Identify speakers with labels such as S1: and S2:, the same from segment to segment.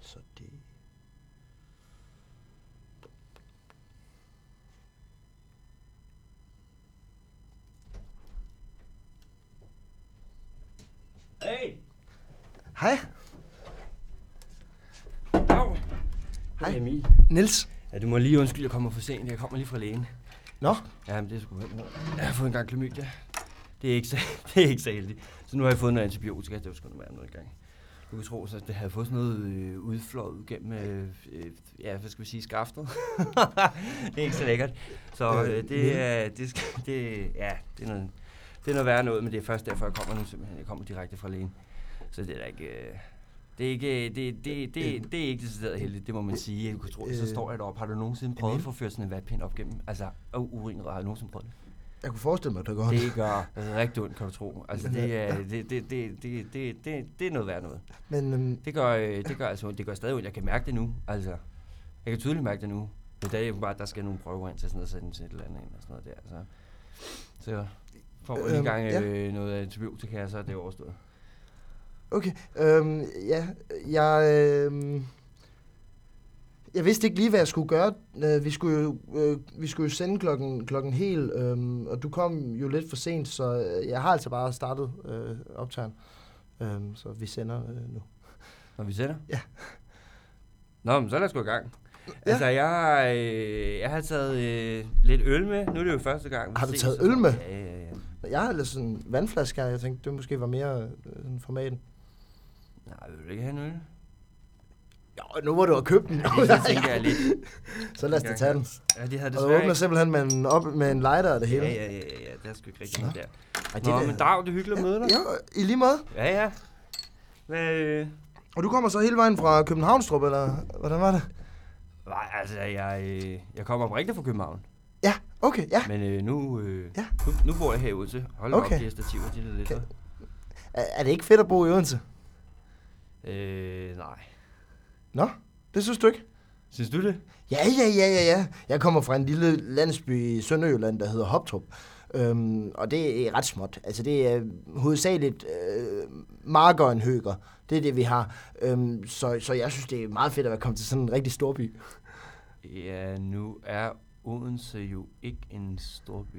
S1: Så det...
S2: Hey!
S1: Hej,
S2: Dag!
S1: Hej.
S2: Hej Emil.
S1: Nils.
S2: Ja, du må lige undskylde, jeg kommer for sent. Jeg kommer lige fra lægen.
S1: Nå,
S2: Ja, men det er sgu helt Jeg har fået en gang klamydia. Det er ikke så, det er ikke så heldigt. Så nu har jeg fået noget antibiotika. Det skulle være noget gang. Du kan tro, så det har fået sådan noget øh, udflået gennem, øh, øh, ja, hvad skal vi sige, skaftet. det er ikke så lækkert. Så øh, det, er, det, skal, det, ja, det er noget, det er noget værre noget, men det er først derfor, jeg kommer nu simpelthen. Jeg kommer direkte fra lægen. Så det er da ikke... Øh, det er ikke, øh, det, det, det, det er ikke decideret heldigt, det må man sige. Du kan tro, så
S1: Øh,
S2: står jeg deroppe. Har du nogensinde prøvet at få ført sådan en vatpind op gennem? Altså, og urinrøret, har du nogensinde prøvet det?
S1: jeg kunne forestille mig, at det går.
S2: Det gør rigtig ondt, kan du tro. Altså, det, er, det, det, det, det, det, det, det er noget værd noget.
S1: Men øhm,
S2: Det gør, øh, det gør altså ondt. Det gør stadig ondt. Jeg kan mærke det nu. Altså, jeg kan tydeligt mærke det nu. Men der er jo bare, der skal nogle prøver ind til sådan noget, sådan til et eller andet ind og sådan noget der. Så, så får man lige en
S1: Øhm,
S2: gang
S1: ja.
S2: øh, noget antibiotika, så er det overstået.
S1: okay, øhm, ja, jeg... Øhm, jeg vidste ikke lige, hvad jeg skulle gøre. Øh, vi, skulle jo, øh, vi skulle jo sende klokken, klokken helt, øhm, og du kom jo lidt for sent, så øh, jeg har altså bare startet øh, optageren. Øhm, så vi sender øh, nu.
S2: Når vi sætter?
S1: Ja.
S2: Nå, men så lad os gå i gang. Altså, jeg har, øh, jeg har taget øh, lidt øl med. Nu er det jo første gang. vi
S1: Har du
S2: ses
S1: taget
S2: og sådan
S1: øl med?
S2: noget. Ja, ja, ja.
S1: Jeg har ellers sådan en vandflaske her, jeg tænkte, det måske var mere øh, sådan formaten.
S2: Nej, vil du ikke have en øl?
S1: Jo, nu må du have købt den.
S2: Det så tænker jeg lidt.
S1: så lad os da tage den.
S2: Ja, de havde
S1: Og
S2: desværre
S1: du åbner
S2: ikke.
S1: simpelthen med en, op, med en lighter og det hele.
S2: Ja, ja, ja, ja, ja, der er sgu ikke rigtig noget der.
S1: Ej, det
S2: Nå,
S1: der-
S2: men Dag, det er hyggeligt at møde dig.
S1: Jo, i lige måde.
S2: Ja, ja. Hvad, øh,
S1: Og du kommer så hele vejen fra Københavnstrup, eller hvordan var det?
S2: nej, altså, jeg, øh, jeg kommer oprigtigt fra København.
S1: Ja, okay, ja.
S2: Men øh, nu, øh,
S1: Ja.
S2: nu, nu bor jeg herude til. Hold da
S1: Okay.
S2: op, de her stativer, de er lidt.
S1: Kan- Er, er det ikke fedt at bo i Odense?
S2: Øh, nej.
S1: Nå, det synes du ikke?
S2: Synes du det?
S1: Ja, ja, ja, ja, ja. Jeg kommer fra en lille landsby i Sønderjylland, der hedder Hoptrup. Øhm, og det er ret småt. Altså, det er hovedsageligt øh, marker og en høger. Det er det, vi har. Øhm, så, så jeg synes, det er meget fedt at være kommet til sådan en rigtig stor by.
S2: Ja, nu er Odense jo ikke en storby.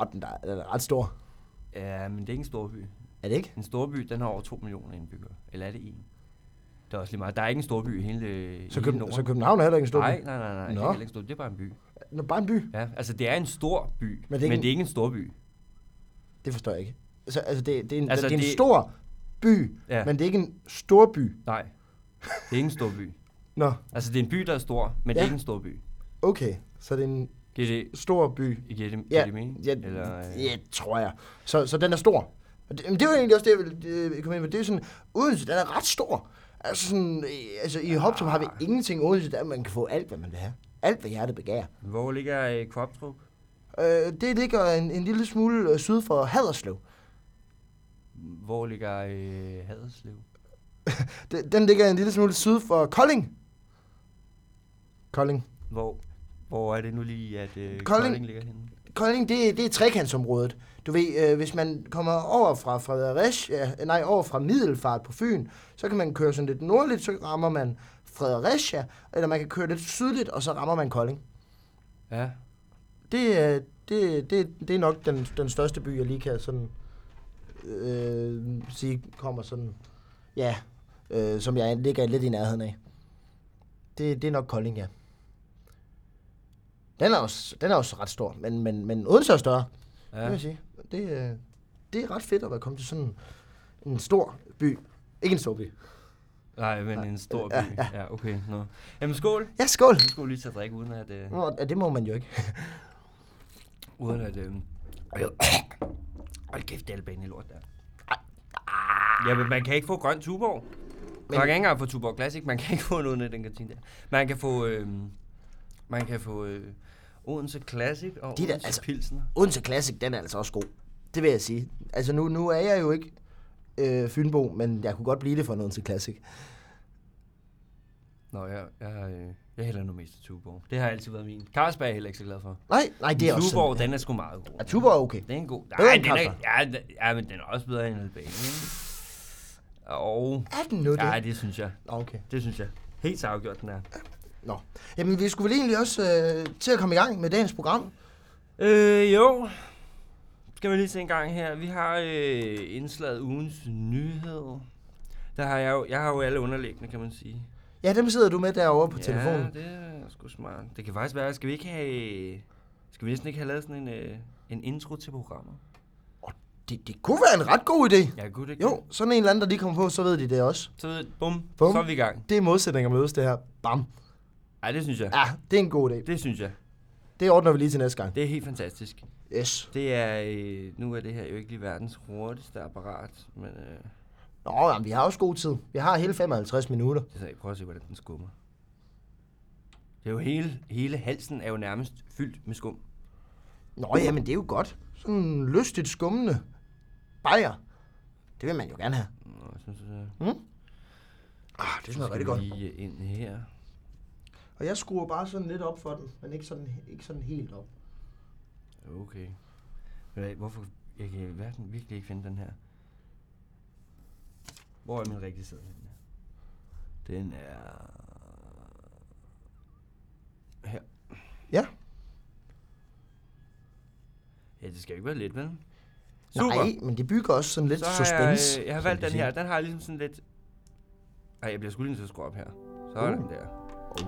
S1: Åh, den der er, den er ret stor.
S2: Ja, men det er ikke en storby.
S1: Er det ikke?
S2: En storby, den har over 2 millioner indbyggere. Eller er det en? Det er også lige meget. Der er ikke en storby i hele, i
S1: Så,
S2: hele
S1: Køben,
S2: Norden.
S1: så København er heller ikke en stor
S2: Nej,
S1: by?
S2: nej, nej, nej. Det
S1: Nå.
S2: er heller ikke en stor, det er bare en by.
S1: Nå, bare en by.
S2: Ja, altså det er en stor by, men det er ikke,
S1: en-
S2: men det er ikke en stor by.
S1: Det forstår jeg ikke. Altså, altså, det, det, er en,
S2: Altså,
S1: altså det er en
S2: det-
S1: stor by, ja.
S2: Ja.
S1: men det er ikke en stor by.
S2: Nej, det er ikke en stor by.
S1: Nå,
S2: Altså det er en by, der er stor, men ja. det
S1: Ja.
S2: er ikke en stor by.
S1: okay. Så det er en
S2: Giver det,
S1: stor by.
S2: giver det,
S1: Ja,
S2: giver det mening?
S1: ja,
S2: Eller, øh,
S1: ja tror jeg. Så, så den er stor. Og Det, men det var egentlig også det, jeg ville øh, komme ind på. Det er sådan, Odense, den er ret stor. Altså, sådan, øh, altså i Hoptrup har vi
S2: Ah.
S1: ingenting i Odense, der man kan få alt, hvad man vil have. Alt, hvad hjertet begærer.
S2: Hvor ligger øh, Kropstrup?
S1: Øh, det ligger en, en lille smule øh, syd for Haderslev.
S2: Hvor ligger øh, Haderslev?
S1: Den, den ligger en lille smule syd for Kolding. Kolding.
S2: Hvor, hvor er det nu lige, at øh,
S1: Kolding.
S2: Kolding. Kolding ligger henne?
S1: Kolding, det, det er trekantsområdet. Du ved, øh, hvis man kommer over fra Fredericia, øh, nej, over fra Middelfart på Fyn, så kan man køre sådan lidt nordligt, så rammer man Fredericia, eller man kan køre lidt sydligt, og så rammer man Kolding.
S2: Ja,
S1: Det, er- det, det, det er nok den, den største by, jeg lige kan sådan, øh, sige, kommer sådan, ja, øh, som jeg ligger lidt i nærheden af. Det, det er nok Kolding, ja. Den er også, den er også ret stor, men, men, men Odense er større. Ja. Det vil
S2: ja.
S1: jeg sige. Det, øh, det er ret fedt at være kommet til sådan en stor by. Ikke en stor by.
S2: Nej, men en stor by.
S1: Ja,
S2: Ja, ja okay. Nå. Jamen skål.
S1: Ja, skål!
S2: Vi skulle lige til at drikke, uden at... Øh,
S1: Nå, ja, det må man jo ikke.
S2: Uden at... Øh... Hold kæft, det er albanien lort der. Ja, men man kan ikke få grøn Tuborg.
S1: Men-
S2: Man kan ikke engang få Tuborg Classic. Man kan ikke få noget af den kantine der. Man kan få... Øh... Man kan få... Øh... Odense Classic og
S1: De er da-
S2: Odense
S1: altså-
S2: Pilsner.
S1: Odense Classic, den er altså også god. Det vil jeg sige. Altså nu, nu er jeg jo ikke øh, Fynbo, men jeg kunne godt blive det for en Odense Classic.
S2: Nå, jeg, jeg, øh, jeg hælder nu mest til Tuborg. Det har altid været min. Carlsberg er jeg heller ikke så glad for.
S1: Nej, nej, det er også
S2: Tuborg,
S1: sådan.
S2: den er sgu meget god.
S1: Ja, Tuborg er okay.
S2: Den er en god.
S1: Bedre
S2: Nej,
S1: end
S2: den er,
S1: Carlsberg.
S2: ja, den- ja, men den er også bedre end Albania. ikke? Og...
S1: Er den nu det?
S2: Nej, det synes jeg.
S1: Nå, okay.
S2: Det synes jeg. Helt så afgjort, den er.
S1: Nå. Jamen, vi skulle vel egentlig også øh, til at komme i gang med dagens program.
S2: Øh, jo. Skal vi lige se en gang her. Vi har øh, indslaget ugens nyhed. Der har jeg, jo, jeg har jo alle underlæggende, kan man sige.
S1: Ja, dem sidder du med derovre på ja. telefonen.
S2: Ja, det er sgu smart. Det kan faktisk være, skal vi ikke have... Skal vi næsten ikke have lavet sådan en, øh, en intro til programmet?
S1: Det, det kunne være en ret god idé.
S2: Ja, gud, det
S1: Jo, sådan en eller anden, der lige kommer på, så ved de det også.
S2: Så ved bum,
S1: Bum.
S2: bum, så er vi i gang.
S1: Det er modsætninger mødes, det her. Bam.
S2: Ej, det synes jeg.
S1: Ja, det er en god idé.
S2: Det synes jeg.
S1: Det ordner vi lige til næste gang.
S2: Det er helt fantastisk.
S1: Yes.
S2: Det er, øh, nu er det her jo ikke lige verdens hurtigste apparat, men øh,
S1: Nå, jamen, vi har også god tid. Vi har hele 55 minutter.
S2: det er, så- prøv at se, hvordan den skummer. Det er jo hele, hele halsen er jo nærmest fyldt med skum.
S1: Nå, jamen, det er jo godt. Sådan lystigt skummende. Bajer. Det vil man jo gerne have.
S2: Nå, jeg synes, det
S1: Ah, det smager
S2: skal
S1: rigtig
S2: vi
S1: godt.
S2: lige øh, ind her.
S1: Og jeg skruer bare sådan lidt op for den, men ikke sådan, ikke sådan helt op.
S2: Okay. Ved du hvad, Hvorfor? Jeg kan i verden virkelig ikke finde den her. Hvor er min rigtige sæde henne? Den er... Her.
S1: Ja.
S2: Ja, det skal jo ikke være let, vel?
S1: Nej, men det bygger også sådan lidt
S2: så har
S1: suspense.
S2: Jeg, øh, jeg har
S1: som
S2: valgt
S1: de
S2: den
S1: siger.
S2: her. Den har jeg ligesom sådan lidt... Ej, jeg bliver sgu lige nødt til at skrue op her. Sådan
S1: Uh.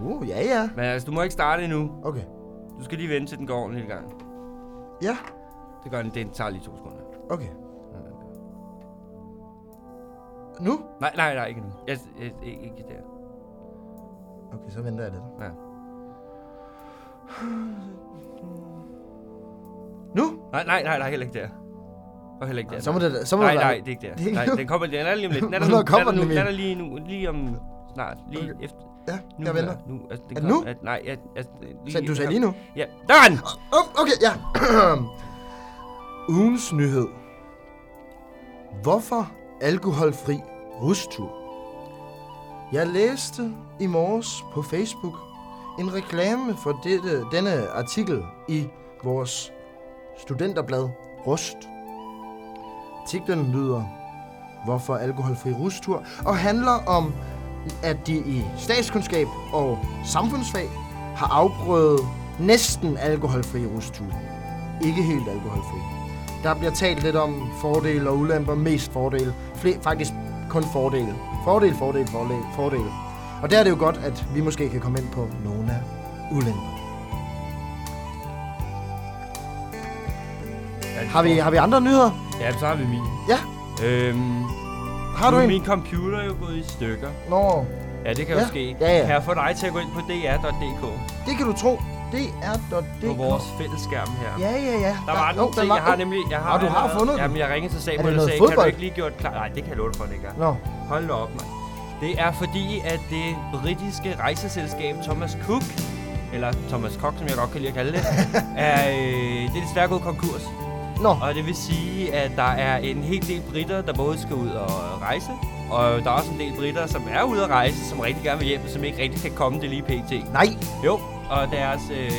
S2: der.
S1: Uh, ja, ja.
S2: Men altså, du må ikke starte endnu.
S1: Okay.
S2: Du skal lige vente til den går ordentligt i gang.
S1: Ja,
S2: Det gør den. Den tager lige to sekunder.
S1: okay. Nu?
S2: Nej, nej, nej, ikke nu. Jeg, jeg, ikke, ikke der.
S1: Okay, så venter jeg lidt.
S2: Ja.
S1: Nu?
S2: Nej, nej, nej, nej, heller ikke der. Og heller ikke der.
S1: Så må det, så må
S2: nej,
S1: det
S2: nej,
S1: være-
S2: det er ikke der.
S1: Det er ikke
S2: Nej,
S1: nu.
S2: den kommer, den er lige om lidt. Den er der
S1: Hvornår
S2: nu,
S1: kommer
S2: den, er der
S1: den,
S2: nu, den
S1: Emil?
S2: er lige nu, lige om snart, lige okay. efter.
S1: Ja,
S2: Nu,
S1: jeg venter.
S2: her, Nu, altså, den
S1: Er det
S2: kom-
S1: nu?
S2: At, nej, at, at, lige,
S1: Så du sagde lige nu?
S2: Ja, der er den!
S1: Oh, okay, ja. Ugens nyhed. Hvorfor alkoholfri rustur? Jeg læste i morges på Facebook en reklame for dette, denne artikel i vores studenterblad Rust. Titlen lyder Hvorfor alkoholfri rustur? og handler om, at de i statskundskab og samfundsfag har afprøvet næsten alkoholfri rustur. Ikke helt alkoholfri. Der bliver talt lidt om fordele og ulemper, mest fordele. Fle- faktisk kun fordele. Fordel, fordel, fordel, fordel. Og der er det jo godt, at vi måske kan komme ind på nogle af ulemper.
S2: Ja, den
S1: Har vi,
S2: kommer.
S1: har vi andre nyheder?
S2: Ja, så har vi min.
S1: Ja.
S2: Øhm,
S1: Har du
S2: nu er
S1: en?
S2: min computer er jo gået i stykker.
S1: Nå,
S2: Ja, det kan jo
S1: Ja,
S2: ske.
S1: ja, ja.
S2: Kan jeg få dig til at gå ind på dr.dk
S1: det kan du tro. Det er dot det.
S2: på vores fællesskærm her?
S1: Ja, ja, ja.
S2: Der var
S1: jo, oh.
S2: den ting, jeg har nemlig... Jeg har
S1: Nå, du har
S2: allerede-
S1: fundet den.
S2: Jamen, jeg ringede til
S1: Er det
S2: Samuel og
S1: noget
S2: sagde, kan du
S1: fodbold?
S2: ikke lige gjort klar? Nej, det kan jeg love dig for, det ikke er.
S1: Nå,
S2: Hold da op, mand. Det er fordi, at det britiske rejseselskab Thomas Cook, eller Thomas Cook, som jeg godt kan lide at kalde det, er, øh, det er desværre gået konkurs.
S1: nå.
S2: Og det vil sige, at der er en hel del britter, der både skal ud og rejse, og der er også en del britter, som er ude at rejse, som rigtig gerne vil hjem, som ikke rigtig kan komme det lige pt.
S1: Nej.
S2: Jo, og deres... Øh,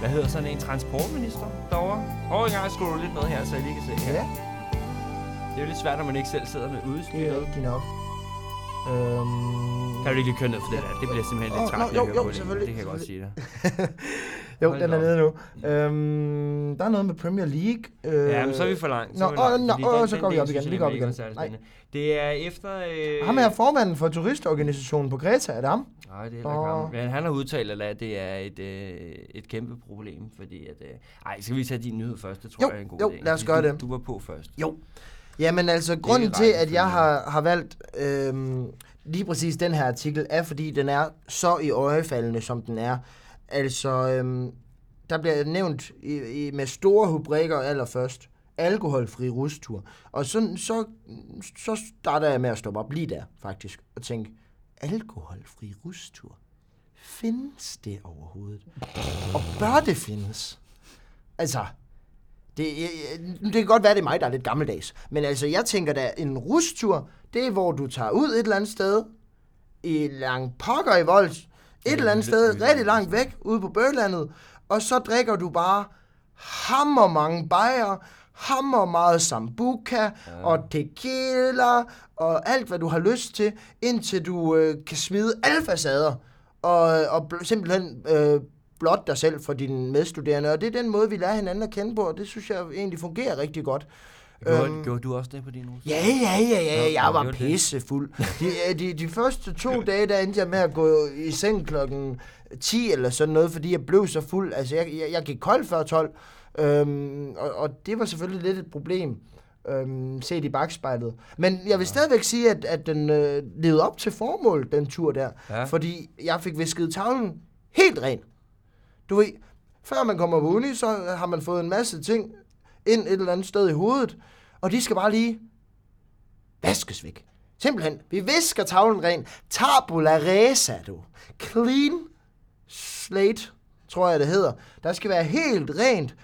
S2: hvad hedder sådan en transportminister derovre? Prøv en gang at skrue lidt ned her, så jeg lige kan se her.
S1: Ja,
S2: Det er jo lidt svært, når man ikke selv sidder med
S1: det er
S2: udstyret.
S1: rigtigt nok. Øhm...
S2: Kan du ikke lige køre ned for det der? Det bliver simpelthen lidt
S1: Åh,
S2: træt,
S1: nå,
S2: at
S1: jo,
S2: høre
S1: jo,
S2: på det.
S1: selvfølgelig, Øh,
S2: Det kan jeg godt sige dig.
S1: Jo,
S2: Hold
S1: den
S2: da
S1: er
S2: op.
S1: nede nu. Øhm, der er noget med Premier League. Øh,
S2: Ja, men så er vi for langt.
S1: Nå,
S2: er
S1: åh,
S2: langt,
S1: nå,
S2: fordi
S1: åh,
S2: den-
S1: så
S2: den
S1: går vi
S2: del
S1: op igen,
S2: synes jeg
S1: vi går op
S2: nemlig ikke
S1: igen.
S2: var særlig
S1: Nej.
S2: spændende. Det er efter... Øh...
S1: Ham er formanden for turistorganisationen på Greta, er det ham?
S2: Nej, det er heller ikke
S1: Nå.
S2: ham. Men han har udtalt, at det er et, øh, et kæmpe problem, fordi at... Øh... Ej, skal vi tage din nyhed først? Det tror
S1: Jo,
S2: jeg er en god
S1: jo,
S2: idé.
S1: lad os
S2: Fordi
S1: gøre
S2: du,
S1: det.
S2: Du var på først.
S1: Jo. Jamen altså, grunden
S2: ikke
S1: til, at
S2: rækkefølge.
S1: jeg har, har valgt øhm, lige præcis den her artikel, er fordi den er så i øjefaldende, som den er. Altså, øhm, der bliver nævnt i, i, med store rubrikker allerførst, alkoholfri rustur. Og sådan, så, så starter jeg med at stoppe op lige der, faktisk, og tænke, alkoholfri rustur? Findes det overhovedet? Og bør det findes? Altså, det, øh, det kan godt være, det er mig, der er lidt gammeldags. Men altså, jeg tænker da, en rustur, det er, hvor du tager ud et eller andet sted, i lang pokker i Vols, et eller andet sted, rigtig langt væk, ude på Bøgelandet, og så drikker du bare hammer mange bajer, hammer meget sambuca og tequila og alt, hvad du har lyst til, indtil du øh, kan smide alle facader og, og bl- simpelthen øh, blot dig selv for dine medstuderende. Og det er den måde, vi lærer hinanden at kende på, og det synes jeg egentlig fungerer rigtig godt.
S2: Gjorde, gjorde du også det på din hus?
S1: øhm, Ja, ja, ja, ja,
S2: Nå,
S1: jeg
S2: nå,
S1: var
S2: det var det.
S1: pissefuld. De, øh, de, de første to dage, der endte jeg med at gå i seng klokken 10 eller sådan noget, fordi jeg blev så fuld. Altså, jeg, jeg, jeg gik kold før 12, øhm, og, og det var selvfølgelig lidt et problem, øhm, set i bagspejlet. Men jeg vil stadigvæk sige, at, at den øh, levede op til formål, den tur der.
S2: Ja.
S1: Ja. Fordi jeg fik visket tavlen helt ren. Du ved, før man kommer på uni, så har man fået en masse ting ind et eller andet sted i hovedet, og de skal bare lige vaskes væk. Simpelthen, vi visker tavlen ren. Tabula rasa, du. Clean slate, tror jeg det hedder. Der skal være helt rent,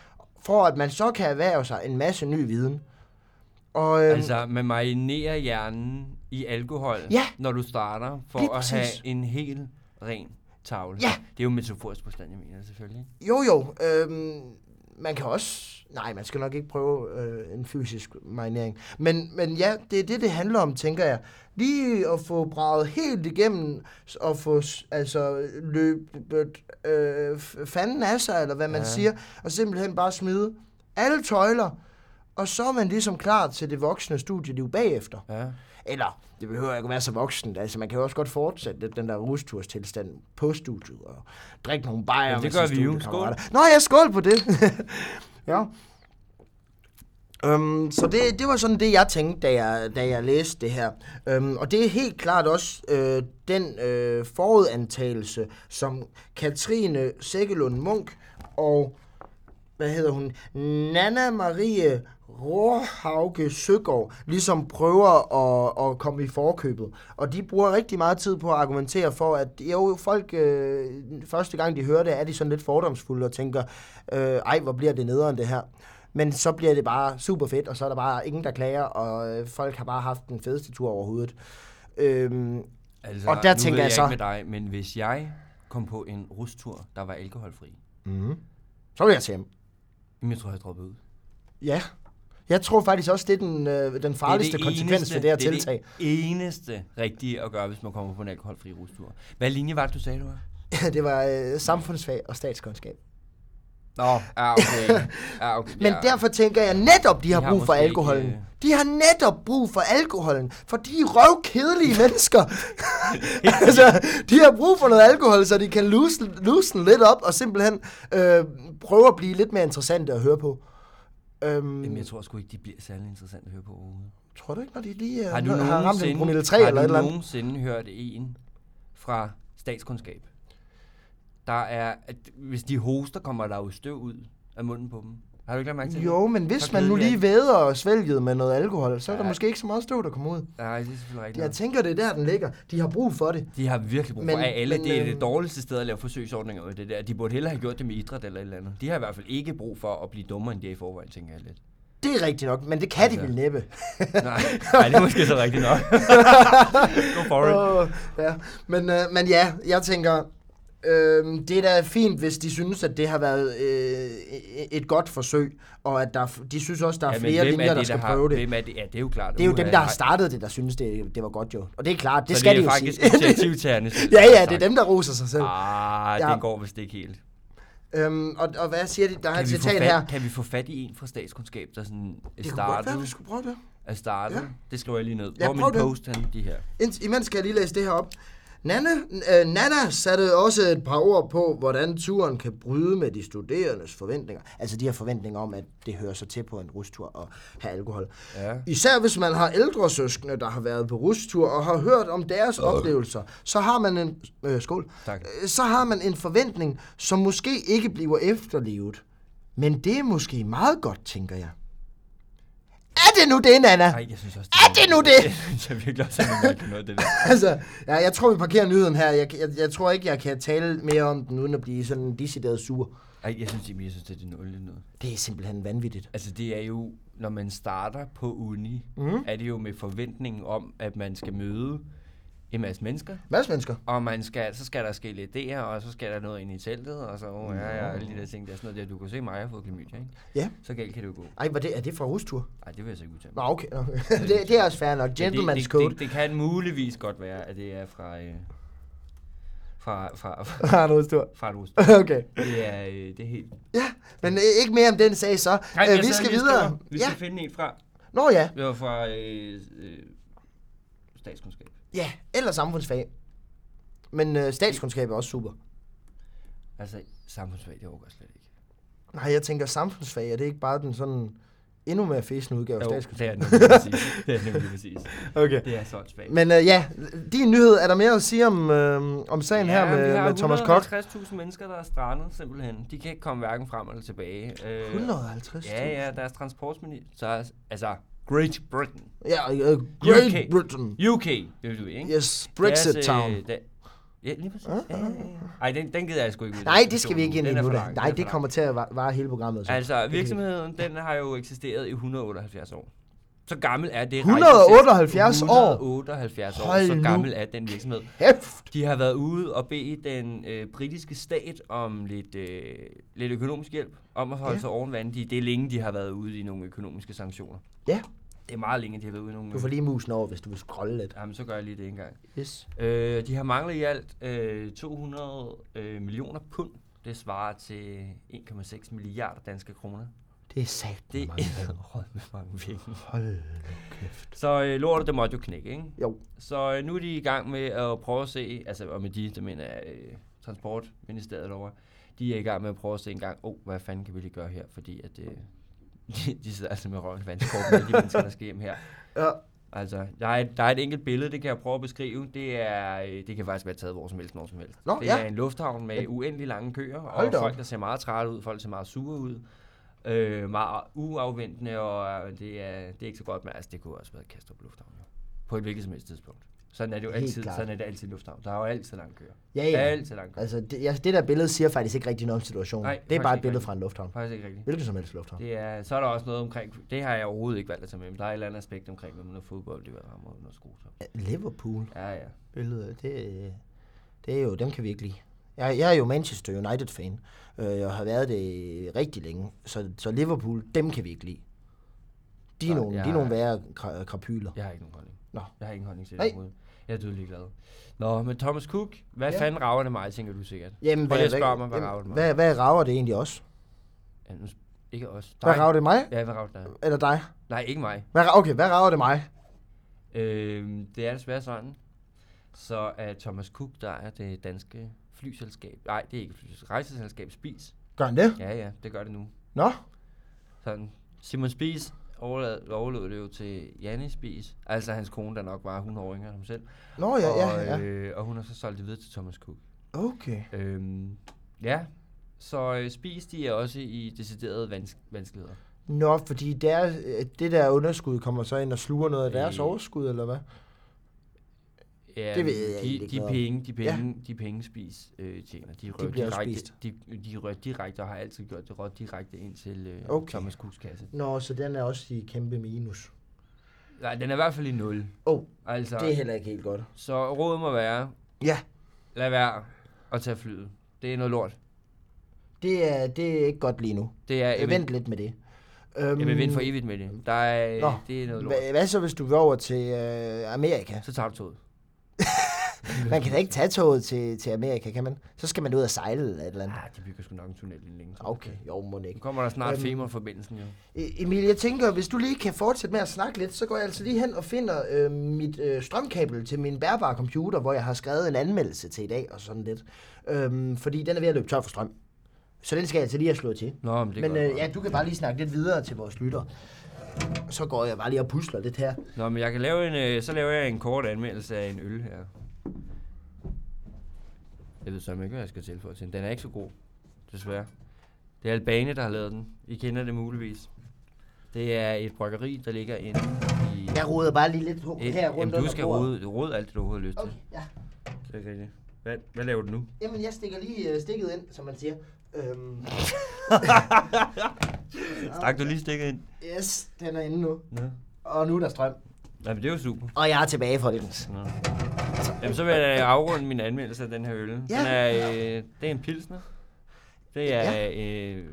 S1: for at man så kan erhverve sig en masse ny viden. Og, øhm,
S2: Altså, man marinerer hjernen i alkohol,
S1: Ja.
S2: når du starter, for
S1: Lige
S2: at
S1: præcis.
S2: have en helt ren tavle.
S1: Ja.
S2: Det er jo metaforisk forstand, jeg mener selvfølgelig.
S1: Jo, jo. Øhm, man kan også... Nej, man skal nok ikke prøve øh, en fysisk marinering. Men, men ja, det er det, det handler om, tænker jeg. Lige at få braget helt igennem, s- og få s- altså, løbet øh, f- fanden af sig, eller hvad man
S2: Ja.
S1: ja. siger, og simpelthen bare smide alle tøjler, og så er man ligesom klar til det voksne studieliv bagefter.
S2: Ja.
S1: Eller, det behøver ikke at være så voksen. Altså, man kan jo også godt fortsætte lidt den der rusturstilstand på studiet og drikke nogle bajer
S2: Ja, det
S1: med
S2: gør
S1: sine
S2: vi jo.
S1: studiekammerater. Nå, jeg skål på det. ja. Øhm, så det, det var sådan det, jeg tænkte, da jeg, da jeg læste det her. Øhm, og det er helt klart også øh, den øh, forudantagelse, som Katrine Sækkelund Munk og hvad hedder hun, Nana Marie Råhauke Søgaard, ligesom prøver at, at komme i forkøbet. Og de bruger rigtig meget tid på at argumentere for, at jo, folk, øh, første gang de hører det, er de sådan lidt fordomsfulde og tænker, øh, ej, hvor bliver det nederen det her. Men så bliver det bare super fedt, og så er der bare ingen, der klager, og øh, folk har bare haft den fedeste tur overhovedet. Øhm,
S2: Altså,
S1: Og der
S2: nu
S1: tænker
S2: ved
S1: jeg
S2: jeg
S1: så-
S2: ikke med dig, men hvis jeg kom på en rustur, der var alkoholfri,
S1: Mhm. så vil jeg tage hjem.
S2: jamen, jeg tror, jeg droppede ud.
S1: Ja. Jeg tror faktisk også, det er den, øh, den farligste det konsekvens eneste, ved det her
S2: det er
S1: tiltag.
S2: Det eneste rigtige at gøre, hvis man kommer på en alkoholfri rustur. Hvad linje var det, du sagde, du var?
S1: det var øh, samfundsfag og statskundskab.
S2: Nå, ja, Ah, okay. Ja, okay.
S1: Men
S2: ja.
S1: derfor tænker jeg netop, de har
S2: har
S1: brug for
S2: måske
S1: alkoholen.
S2: ikke, øh,
S1: De har netop brug for alkoholen, for de er røvkedelige mennesker. altså, de har brug for noget alkohol, så de kan loosen, loosen lidt op og simpelthen øh, prøve at blive lidt mere interessante at høre på. Øhm,
S2: Jamen, jeg tror sgu ikke, de bliver særlig interessant at høre på overhovedet.
S1: tror du ikke, når de lige øh,
S2: Har du
S1: har ramt en promille 3
S2: har
S1: eller
S2: du
S1: et eller andet?
S2: nogensinde hørt en fra statskundskab? Der er, at hvis de hoster, kommer der jo støv ud af munden på dem. Har du ikke lagt mærke til
S1: Jo, men
S2: Så
S1: hvis man nu
S2: kedelig er
S1: lige væder og svælgede med noget alkohol, så er der
S2: Ja.
S1: måske ikke så meget støv, der kommer ud.
S2: det? Nej, det er selvfølgelig rigtigt.
S1: Jeg
S2: nok.
S1: tænker, det er der, den ligger. De har brug for det.
S2: De har virkelig brug for
S1: Men-
S2: men, alle.
S1: men,
S2: Men, det er
S1: øhm,
S2: det dårligste sted at lave forsøgsordninger ud af det der. De burde hellere have gjort det med idræt eller et eller andet. De har i hvert fald ikke brug for at blive dummere, end de er i forvejen, tænker jeg lidt.
S1: Det er rigtigt nok, men det kan de
S2: Altså.
S1: vel næppe.
S2: Nej, nej det er måske så rigtigt nok. Go for it.
S1: Åh, ja. Men, øh, men ja, jeg tænker, øh, det er da fint, hvis de synes, at det har været øh, et godt forsøg, og at der, er- de synes også, der er ja,
S2: men
S1: flere
S2: hvem
S1: linjer, der,
S2: det,
S1: skal
S2: har,
S1: prøve det.
S2: Hvem er det? Ja, det er jo klart.
S1: Det er jo
S2: Uha,
S1: dem, der har
S2: nej.
S1: startet det, der synes, det, det var godt jo. Og det er klart, det
S2: Så
S1: skal
S2: det
S1: de
S2: er
S1: jo
S2: faktisk
S1: sige.
S2: initiativtagerne selv,
S1: ja,
S2: der har
S1: ja, det
S2: sagt,
S1: er dem, der roser sig selv.
S2: Ah,
S1: Ja.
S2: den går vist ikke helt.
S1: Øhm, og, og hvad siger de? Der er
S2: Kan
S1: et
S2: vi, få
S1: citat
S2: fat,
S1: her.
S2: kan vi få fat i en fra statskundskab, der sådan er
S1: Det kunne godt være,
S2: startet?
S1: vi skulle prøve det.
S2: Er startet?
S1: Ja.
S2: Det skriver jeg lige ned.
S1: Ja,
S2: Hvor er
S1: prøv
S2: min
S1: det.
S2: post han, de her?
S1: Ind, imens skal jeg lige læse det her op. Nana, øh, Nana satte også et par ord på, hvordan turen kan bryde med de studerendes forventninger. Altså de her forventninger om, at det hører sig til på en rustur at have alkohol.
S2: Ja.
S1: Især hvis man har ældre søskende, der har været på rustur og har hørt om deres oplevelser, så har man en... Øh, skål.
S2: Tak.
S1: Øh, Så har man en forventning, som måske ikke bliver efterlevet. Men det er måske meget godt, tænker jeg. Er det nu det, Nana?
S2: Nej, jeg synes også,
S1: Er det nu det?
S2: Jeg synes jeg virkelig også, at det er mærkeligt noget, det der.
S1: Altså, ja, jeg tror, vi parkerer nyheden her. Jeg, jeg, jeg tror ikke, jeg kan tale mere om den, uden at blive sådan decideret sur.
S2: Ej, jeg synes, Emil, jeg synes, det er det nullige noget.
S1: Det er simpelthen vanvittigt.
S2: Altså, det er jo, når man starter på uni,
S1: Mhm.
S2: mm. er det jo med forventningen om, at man skal møde en masse mennesker,
S1: Mads mennesker.
S2: og man skal, så skal der ske lidt idéer, og så skal der noget ind i teltet, og så oh, ja, ja, alle de der ting, der er sådan noget der. Du kan se mig, jeg har fået klamydia, ikke?
S1: Ja.
S2: Så galt kan det jo gå.
S1: Ej, var det, er det fra rustur?
S2: Nej, det vil jeg så ikke udtale.
S1: Nå, okay. Nå. det, det, er også fair nok.
S2: Men
S1: Gentleman's
S2: det,
S1: code.
S2: Det, det, det, kan muligvis godt være, at det er fra... Øh, fra, fra, fra,
S1: Har en rustur.
S2: fra et rust.
S1: Okay.
S2: Det er, øh, det er helt...
S1: Ja, men øh, ikke mere om den sag så.
S2: Nej,
S1: Øh,
S2: jeg
S1: vi
S2: sad
S1: skal
S2: lige og
S1: videre.
S2: skriver. Vi
S1: Ja.
S2: skal finde en fra.
S1: Nå ja.
S2: Det var fra øh, øh, statskundskab.
S1: Ja, eller samfundsfag. Men øh, statskundskab er også super.
S2: Altså, samfundsfag, det overgår jeg slet ikke.
S1: Nej, jeg tænker samfundsfag, er det ikke bare den sådan endnu mere fæsende udgave af
S2: det
S1: statskundskab?
S2: er nemlig præcis. Det er nemlig præcis.
S1: Okay.
S2: Det er så et svagt.
S1: Men øh, ja, din nyhed, er der mere at sige om, øh, om sagen ja, her med, med Thomas Koch?
S2: 150.000 mennesker, der er strandet simpelthen. De kan ikke komme hverken frem eller tilbage. Øh,
S1: 150?
S2: Ja, ja, deres transportminister. Så, er- altså, Great Britain.
S1: Ja, øh, Great
S2: UK.
S1: Britain.
S2: UK, det ved du ikke?
S1: Yes, Brexit
S2: Deres, øh,
S1: Town.
S2: da- Ja, lige præcis. Ja, ja, ja. Ej, den, den gider jeg sgu ikke ud. i.
S1: Nej, det skal vi ikke ind i
S2: Den er
S1: nu
S2: for
S1: da.
S2: lang.
S1: Nej,
S2: Den er
S1: det
S2: for
S1: kommer til at va- vare hele programmet. Så.
S2: Altså, virksomheden, den har jo eksisteret i 178 år. Så gammel er det.
S1: 178 år?
S2: 178 år,
S1: Hold
S2: så
S1: nu
S2: gammel er den virksomhed.
S1: Hæft!
S2: De har været ude og bede den øh, britiske stat om lidt, øh, lidt økonomisk hjælp, om at holde
S1: Ja.
S2: sig oven vandet. De- Det er længe, de har været ude i nogle økonomiske sanktioner.
S1: Ja,
S2: Det er meget længe, de har været ude i nogle...
S1: du får lige musen over, hvis du vil scrolle lidt.
S2: Jamen, så gør jeg lige det engang.
S1: Yes.
S2: Øh, de har manglet i alt øh, 200 øh, millioner pund. Det svarer til 1,6 milliarder danske kroner.
S1: Det er sat.
S2: Det er med mange penge.
S1: Hold nu kæft.
S2: Så øh, lortet, det måtte jo knække, ikke?
S1: Jo.
S2: Så øh, nu er de i gang med at prøve at se, altså og med de, der mener jeg, øh, Transportministeriet over, de er i gang med at prøve at se en gang, oh, hvad fanden kan vi lige gøre her, fordi at, øh, de, de sidder altså med røven i vandskorpen, alle de mennesker, der skal hjem her.
S1: Ja.
S2: Altså, der er, et, der er et enkelt billede, det kan jeg prøve at beskrive. Det, er, øh, det kan faktisk være taget hvor som helst, når som helst.
S1: Nå,
S2: det
S1: ja.
S2: er en lufthavn med uendelig lange køer,
S1: Hold
S2: og
S1: da op.
S2: folk, der ser meget trætte ud, folk ser meget sure ud. Øh, meget uafventende, og øh, det er, det er ikke så godt, men altså, det kunne også være Kastrup Lufthavn. Jo. På et hvilket som helst tidspunkt. Sådan er det jo
S1: Helt
S2: altid,
S1: klart.
S2: sådan er det altid i lufthavn. Der er jo altid lange køer.
S1: Ja,
S2: Der er
S1: ja.
S2: altid lange køer.
S1: Altså, det, ja, det der billede siger faktisk ikke rigtig noget om situationen.
S2: Nej,
S1: det
S2: faktisk
S1: er bare et
S2: ikke
S1: billede
S2: rigtig.
S1: fra en lufthavn.
S2: Faktisk ikke rigtigt.
S1: Hvilken som helst lufthavn.
S2: Det er, så er der også noget omkring, det har jeg overhovedet ikke valgt at tage med, men der er et eller andet aspekt omkring, når man er fodbold, det var rammer under skruser.
S1: Liverpool
S2: Ja, ja.
S1: billede, det, øh, det er jo, dem kan vi ikke lide. Jeg, jeg er jo Manchester United-fan, øh, jeg har været det rigtig længe, så, så Liverpool, dem kan vi ikke lide. De er
S2: Nej,
S1: nogle, de er
S2: jeg-
S1: nogle værre kra- krapyler.
S2: Jeg har ikke nogen holdning.
S1: Nå.
S2: Jeg har ingen holdning til
S1: Nej.
S2: det overhovedet. Jeg er dødelig glad. Nå, men Thomas Cook, hvad ja. fanden rager det mig, tænker du sikkert?
S1: Jamen,
S2: Prøv lige at spørge mig, hvad rager det mig?
S1: hvad, hvad rager det egentlig også?
S2: Ja, nu, sp- ikke os.
S1: Hvad rager det mig?
S2: Ja, hvad rager dig?
S1: Eller dig?
S2: Nej, ikke mig.
S1: Hvad, ra- okay, hvad rager det mig?
S2: Øhm, det er desværre sådan, så at Thomas Cook, der er det danske flyselskab, nej, det er ikke flyselskab, rejseselskab Spis.
S1: Gør han det?
S2: Ja, ja, det gør det nu.
S1: Nå?
S2: Sådan. Simon Spis overlod, overlod det jo til Janne Spis, altså hans kone, der nok var 100 år yngre end ham selv.
S1: Nå, ja, ja,
S2: og,
S1: ja.
S2: Øh, og hun har så solgt det videre til Thomas Cook.
S1: Okay.
S2: Øhm, ja, så øh, spis de er også i deciderede vans- vanskeligheder.
S1: Nå, fordi der, øh, det der underskud kommer så ind og sluger noget af deres
S2: Øh.
S1: overskud, eller hvad?
S2: Ja,
S1: Det ved jeg egentlig
S2: de,
S1: ikke
S2: de
S1: noget om.
S2: penge, de penge, ja. de penge spis øh, tjener. De rører
S1: bliver
S2: direkte,
S1: spist.
S2: de, de rører direkte og har altid gjort det rødt direkte ind til øh,
S1: Okay.
S2: okay. Thomas Kuhs kasse.
S1: Nå, så den er også i kæmpe minus.
S2: Nej, den er i hvert fald i nul.
S1: Åh, oh,
S2: Altså,
S1: det er heller ikke helt godt.
S2: så rådet må være,
S1: Ja,
S2: lad være at tage flyet. Det er noget lort.
S1: det er, det er ikke godt lige nu.
S2: Det er, jeg
S1: Jeg
S2: vil,
S1: vent lidt med det. Øhm,
S2: jeg vil vinde for evigt med det. Der er,
S1: Nå,
S2: det er noget lort.
S1: hva- hvad så, hvis du vil over til øh, Amerika?
S2: Så tager du toget.
S1: Man kan da ikke tage toget til, til Amerika, kan man? Så skal man ud og sejle eller et eller andet.
S2: Ah, de bygger sgu nok en tunnel inden længe. tror jeg.
S1: Okay, jo, må
S2: Nu
S1: ikke.
S2: kommer der snart
S1: Øhm,
S2: femmerforbindelsen, jo.
S1: E- Emil, jeg tænker, hvis du lige kan fortsætte med at snakke lidt, så går jeg altså lige hen og finder øh, mit øh, strømkabel til min bærbare computer, hvor jeg har skrevet en anmeldelse til i dag og sådan lidt. Øhm, fordi den er ved at løbe tør for strøm. Så den skal jeg altså lige have slået til.
S2: Nå, men det
S1: Men
S2: går
S1: øh,
S2: nok.
S1: ja, du kan bare lige snakke lidt videre til vores lytter. Så går jeg bare lige og pusler lidt her.
S2: Nå, men jeg kan lave en, øh, så laver jeg en kort anmeldelse af en øl her. Jeg ved så ikke, hvad jeg skal tilføje til den. Den er ikke så god, desværre. Det er Albane, der har lavet den. I kender det muligvis. Det er et bryggeri, der ligger inde i...
S1: Jeg roder bare lige lidt på
S2: et,
S1: her rundt
S2: Eh, jamen, du
S1: under
S2: skal rode,
S1: bordet.
S2: rode alt det, du overhovedet har lyst til.
S1: Okay, ja.
S2: Det er rigtigt. Hvad, hvad laver du nu?
S1: Jamen, jeg stikker lige øh, stikket ind, som man siger. Øhm,
S2: Stak du lige stikket ind?
S1: yes, den er inde nu.
S2: Nå.
S1: Og nu er der strøm.
S2: Nej, men det er jo super.
S1: Og jeg er tilbage, folkens.
S2: Nå. Jamen, så vil jeg afrunde min anmeldelse af den her øl. Den
S1: Ja.
S2: er, øh, det er en pilsner. Det er øh,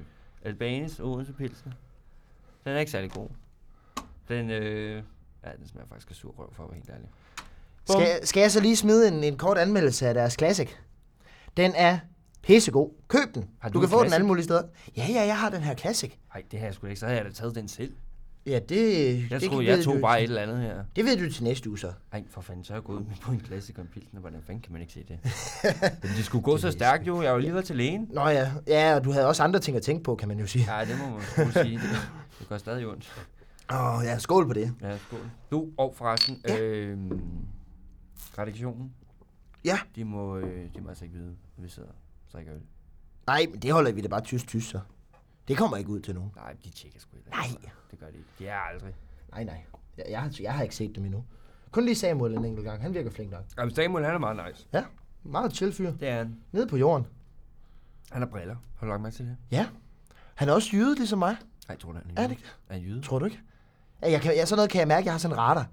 S2: Albanes Odense Pilsner. Den er ikke særlig god. Den, øh, ja, den smager faktisk af sur røv, for at være helt ærlig. Bum.
S1: Skal, skal jeg så lige smide en, en kort anmeldelse af deres Classic? Den er pissegod. Køb den.
S2: Har
S1: du,
S2: du
S1: kan
S2: en
S1: få den
S2: Classic?
S1: alle mulige steder. Ja, ja, jeg har den her Classic.
S2: Nej, det har jeg sgu da ikke. Så havde jeg da taget den selv.
S1: Ja, det...
S2: Jeg
S1: det
S2: troede,
S1: ved
S2: jeg tog
S1: du,
S2: bare et eller andet her.
S1: Det ved du til næste uge så.
S2: Ej, for fanden, så er jeg gået med på en klassiker om pilsen, og hvordan fanden kan man ikke se det? Jamen, det skulle gå så stærkt jo. Jeg var lige været til lægen.
S1: Nå ja, ja, og du havde også andre ting at tænke på, kan man jo sige.
S2: Nej, det må man sgu sige. Det gør stadig ondt.
S1: Åh, oh, ja, skål på det.
S2: Ja, skål. Du, og forresten,
S1: Ja.
S2: ja. øh, redaktionen,
S1: Ja.
S2: de må, øh, de må altså ikke vide, at vi sidder og drikker øl.
S1: Nej, men det holder vi da bare tyst tyst så. Det kommer ikke ud til nogen.
S2: Nej, de tjekker sgu ikke.
S1: Nej.
S2: altså. Det gør de ikke. Det er aldrig.
S1: Nej, nej. Jeg, jeg, har, jeg har ikke set dem endnu. Kun lige Samuel en enkelt gang. Han virker flink nok.
S2: Jamen, Samuel, han er meget nice.
S1: Ja, meget chill fyr.
S2: Det er han.
S1: Nede på jorden.
S2: Han har briller. Har du lagt mærke til det?
S1: Ja. Han er også jyde, ligesom mig.
S2: Nej, jeg tror du, han er
S1: Er
S2: jyde?
S1: det ikke?
S2: Er han jyde?
S1: Tror du ikke? Ja, jeg kan, ja, sådan noget kan jeg mærke, jeg har sådan en radar.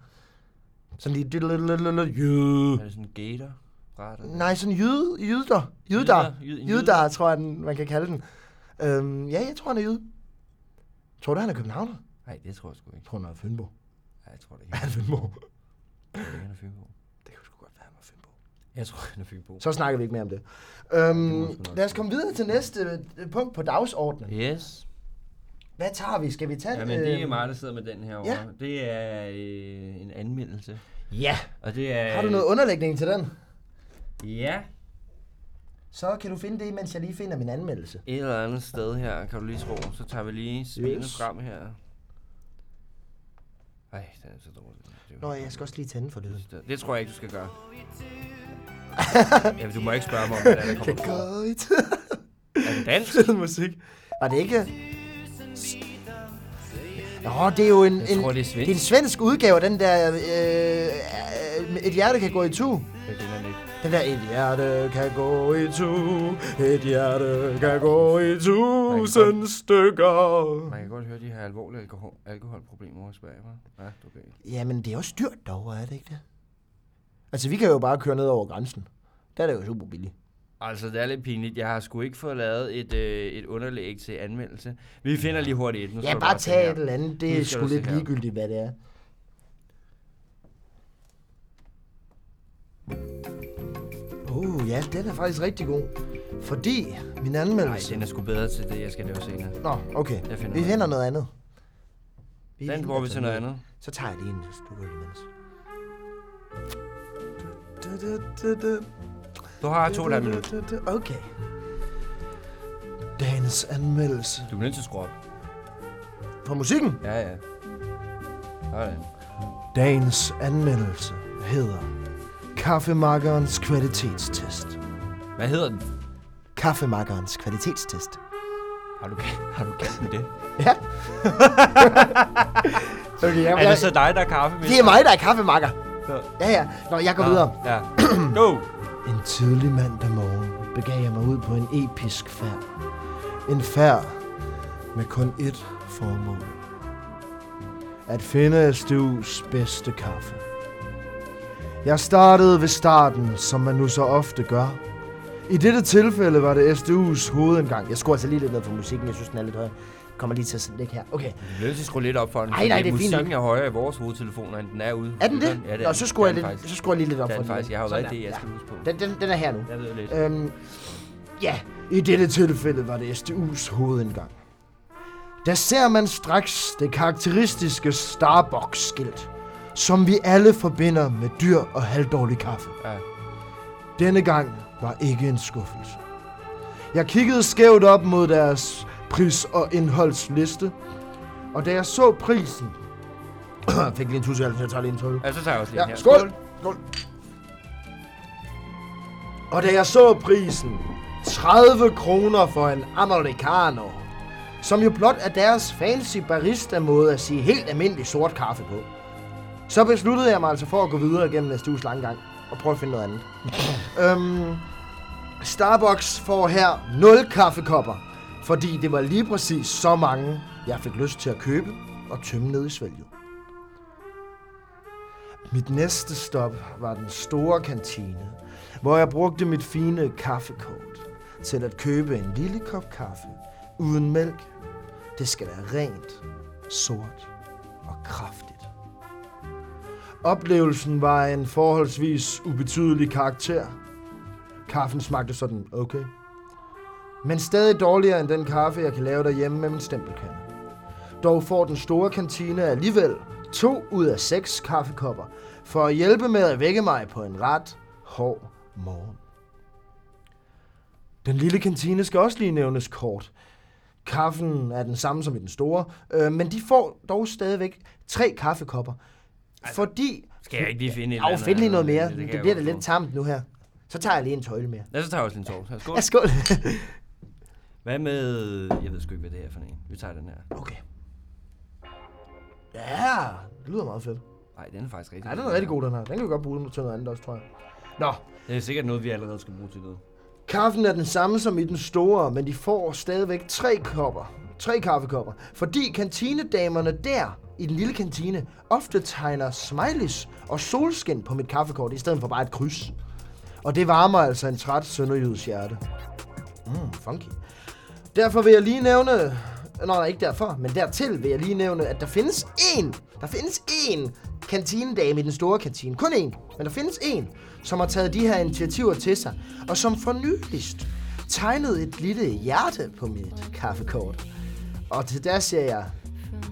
S1: Sådan lige... Jyde.
S2: Er det sådan en gator? Radar?
S1: Nej, sådan jyde, jyder. Jyder.
S2: Jyder, jyd- en
S1: Jyder, tror jeg, den- man kan kalde den. Øhm, ja, jeg tror, han er jyde. Tror du, han er københavner?
S2: Nej, det tror jeg sgu ikke.
S1: tror, han er Fynbo.
S2: Nej, jeg tror det ikke.
S1: Han er Fynbo.
S2: Jeg tror ikke, han er Fynbo.
S1: Det kunne sgu godt være, han var Fynbo.
S2: Jeg tror, han er Fynbo.
S1: Så snakker vi ikke mere om det.
S2: må
S1: Øhm,
S2: sgu nok
S1: lad os komme videre til næste øh, punkt på dagsordenen.
S2: Yes.
S1: Hvad tager vi? Skal vi tage...
S2: Jamen, det er
S1: øh,
S2: mig, der sidder med den her over. Det er øh, en anmeldelse.
S1: Ja.
S2: Og det er...
S1: Har du noget underlægning til den?
S2: Ja,
S1: Så kan du finde det, mens jeg lige finder min anmeldelse.
S2: et eller andet sted her, kan du lige tro. Så tager vi lige spillet
S1: Yes.
S2: yes. frem her. Ej, den er så dårlig. Det er
S1: Nå, jeg skal også lige tænde for lyden.
S2: det. Det tror jeg ikke, du skal gøre. ja, du må ikke spørge mig om, hvordan det kommer fra.
S1: Godt.
S2: Er det dansk?
S1: musik. Var det ikke... Nå, det er jo en,
S2: Jeg
S1: en,
S2: tror, det er svensk.
S1: det er en svensk udgave af den der... Øh, øh, et hjerte kan gå i tu.
S2: Jeg kender den ikke.
S1: Den der, et hjerte kan gå i tu, et hjerte kan gå i tusind stykker.
S2: Man kan godt høre, de har alvorlige alkohol, alkoholproblemer over i Sverige, hva'? Ja, okay.
S1: Jamen, det er også dyrt derovre, er det ikke det? Altså, vi kan jo bare køre ned over grænsen. Der er det jo super billigt.
S2: Altså, det er lidt pinligt. Jeg har sgu ikke fået lavet et, øh, et underlæg til anmeldelse. Vi finder lige hurtigt et. Nu skal
S1: Ja,
S2: du
S1: bare
S2: se
S1: tag
S2: her.
S1: et eller andet.
S2: Nu
S1: Det er
S2: skal
S1: sgu
S2: du se
S1: lidt
S2: her.
S1: ligegyldigt, hvad det er. Uh, ja, den er faktisk rigtig god. Fordi min
S2: Nej,
S1: anmeldelse...
S2: den er sgu bedre til det, jeg skal lave senere.
S1: Nå, okay.
S2: Jeg finder
S1: Vi
S2: noget.
S1: finder noget andet.
S2: Den bruger vi til noget andet.
S1: Så tager jeg lige en slukker imens.
S2: Du har to og et halvt minut.
S1: Okay. Dagens anmeldelse.
S2: Du er nødt til at skrue op.
S1: På musikken?
S2: Ja, ja. Sådan.
S1: Dagens anmeldelse hedder Kaffemakkerens kvalitetstest.
S2: Hvad hedder den?
S1: Kaffemakkerens kvalitetstest.
S2: Har du, har du kaldt den det?
S1: Ja. okay, jeg,
S2: Er
S1: jeg,
S2: det så dig, der er kaffe med?
S1: det er mig, der er kaffemakker.
S2: Nå.
S1: Ja, ja. Nå, jeg går videre.
S2: Ja. Go!
S1: En tidlig mandag morgen begav jeg mig ud på en episk færd. En færd med kun ét formål. At finde SDU's bedste kaffe. Jeg startede ved starten, som man nu så ofte gør. I dette tilfælde var det SDU's hovedindgang. Jeg skruer altså lige lidt ned for musikken, jeg synes den er lidt høj. Jeg Kommer lige til at ligge her. Okay.
S2: Du er nødt til at skrue lidt op for den.
S1: Ej,
S2: fordi
S1: nej, det er fint
S2: Musikken er højere i vores hovedtelefoner, end den er ude.
S1: Er den det?
S2: Ja, det
S1: Nå, så skruer jeg,
S2: det er den
S1: lidt,
S2: faktisk.
S1: så skruer jeg lige lidt op
S2: Det er
S1: for
S2: den faktisk. Jeg har jo
S1: Sådan
S2: været i
S1: der.
S2: det, jeg
S1: Ja.
S2: skal huske på.
S1: Den, den, den er her nu.
S2: Jeg ved lidt.
S1: Øhm, ja, i dette tilfælde var det SDU's hovedindgang. Der ser man straks det karakteristiske Starbucks-skilt, som vi alle forbinder med dyr og halvdårlig kaffe.
S2: Ja.
S1: Denne gang var ikke en skuffelse. Jeg kiggede skævt op mod deres pris- og indholdsliste, og da jeg så prisen... fik lige en tusse, jeg tager lige en tøjle.
S2: Ja, så tager jeg også lidt
S1: Ja,
S2: her.
S1: skål! skål. Og da jeg så prisen, 30 kroner for en americano, som jo blot er deres fancy barista-måde at sige helt almindelig sort kaffe på. Så besluttede jeg mig altså for at gå videre gennem næste uges langgang og prøve at finde noget andet. øhm, Starbucks får her 0 kaffekopper, fordi det var lige præcis så mange, jeg fik lyst til at købe og tømme ned i svælget. Mit næste stop var den store kantine, hvor jeg brugte mit fine kaffekort til at købe en lille kop kaffe uden mælk. Det skal være rent, sort og kraftigt. Oplevelsen var af en forholdsvis ubetydelig karakter. Kaffen smagte sådan okay. Men stadig dårligere end den kaffe, jeg kan lave derhjemme med min stempelkande. Dog får den store kantine alligevel to ud af seks kaffekopper for at hjælpe med at vække mig på en ret hård morgen. Den lille kantine skal også lige nævnes kort. Kaffen er den samme som i den store, øh, men de får dog stadigvæk tre kaffekopper. fordi...
S2: Altså, Skal jeg ikke lige finde et
S1: Af, find lige noget mere.
S2: kan
S1: Det,
S2: jeg
S1: bliver da
S2: godt
S1: lidt
S2: forstå.
S1: tamt nu her. Så tager jeg lige en tøjle mere.
S2: Ja, så tager jeg også en tår. Så skål.
S1: Ja, skål.
S2: Hvad med... Jeg ved sgu ikke, hvad det er for en. Vi tager den her.
S1: okay. Ja, det lyder meget fedt.
S2: Nej, den er faktisk rigtig
S1: Ja, den er rigtig god, den her. Den kan vi godt bruge til noget andet også, tror jeg. Nå,
S2: Det er sikkert noget, vi allerede skal bruge til noget.
S1: Kaffen er den samme som i den store, men de får stadigvæk tre kopper. Tre kaffekopper. Fordi kantinedamerne der i den lille kantine ofte tegner smileys og solskin på mit kaffekort, i stedet for bare et kryds. Og det varmer altså en træt sønderjydes hjerte. Mm, funky. Derfor vil jeg lige nævne... Nå, nej, ikke derfor, men dertil vil jeg lige nævne, at der findes én, der findes én kantinedame i den store kantine. Kun én, men der findes én, som har taget de her initiativer til sig, og som for nyligst tegnede et lille hjerte på mit kaffekort. Og til der siger jeg,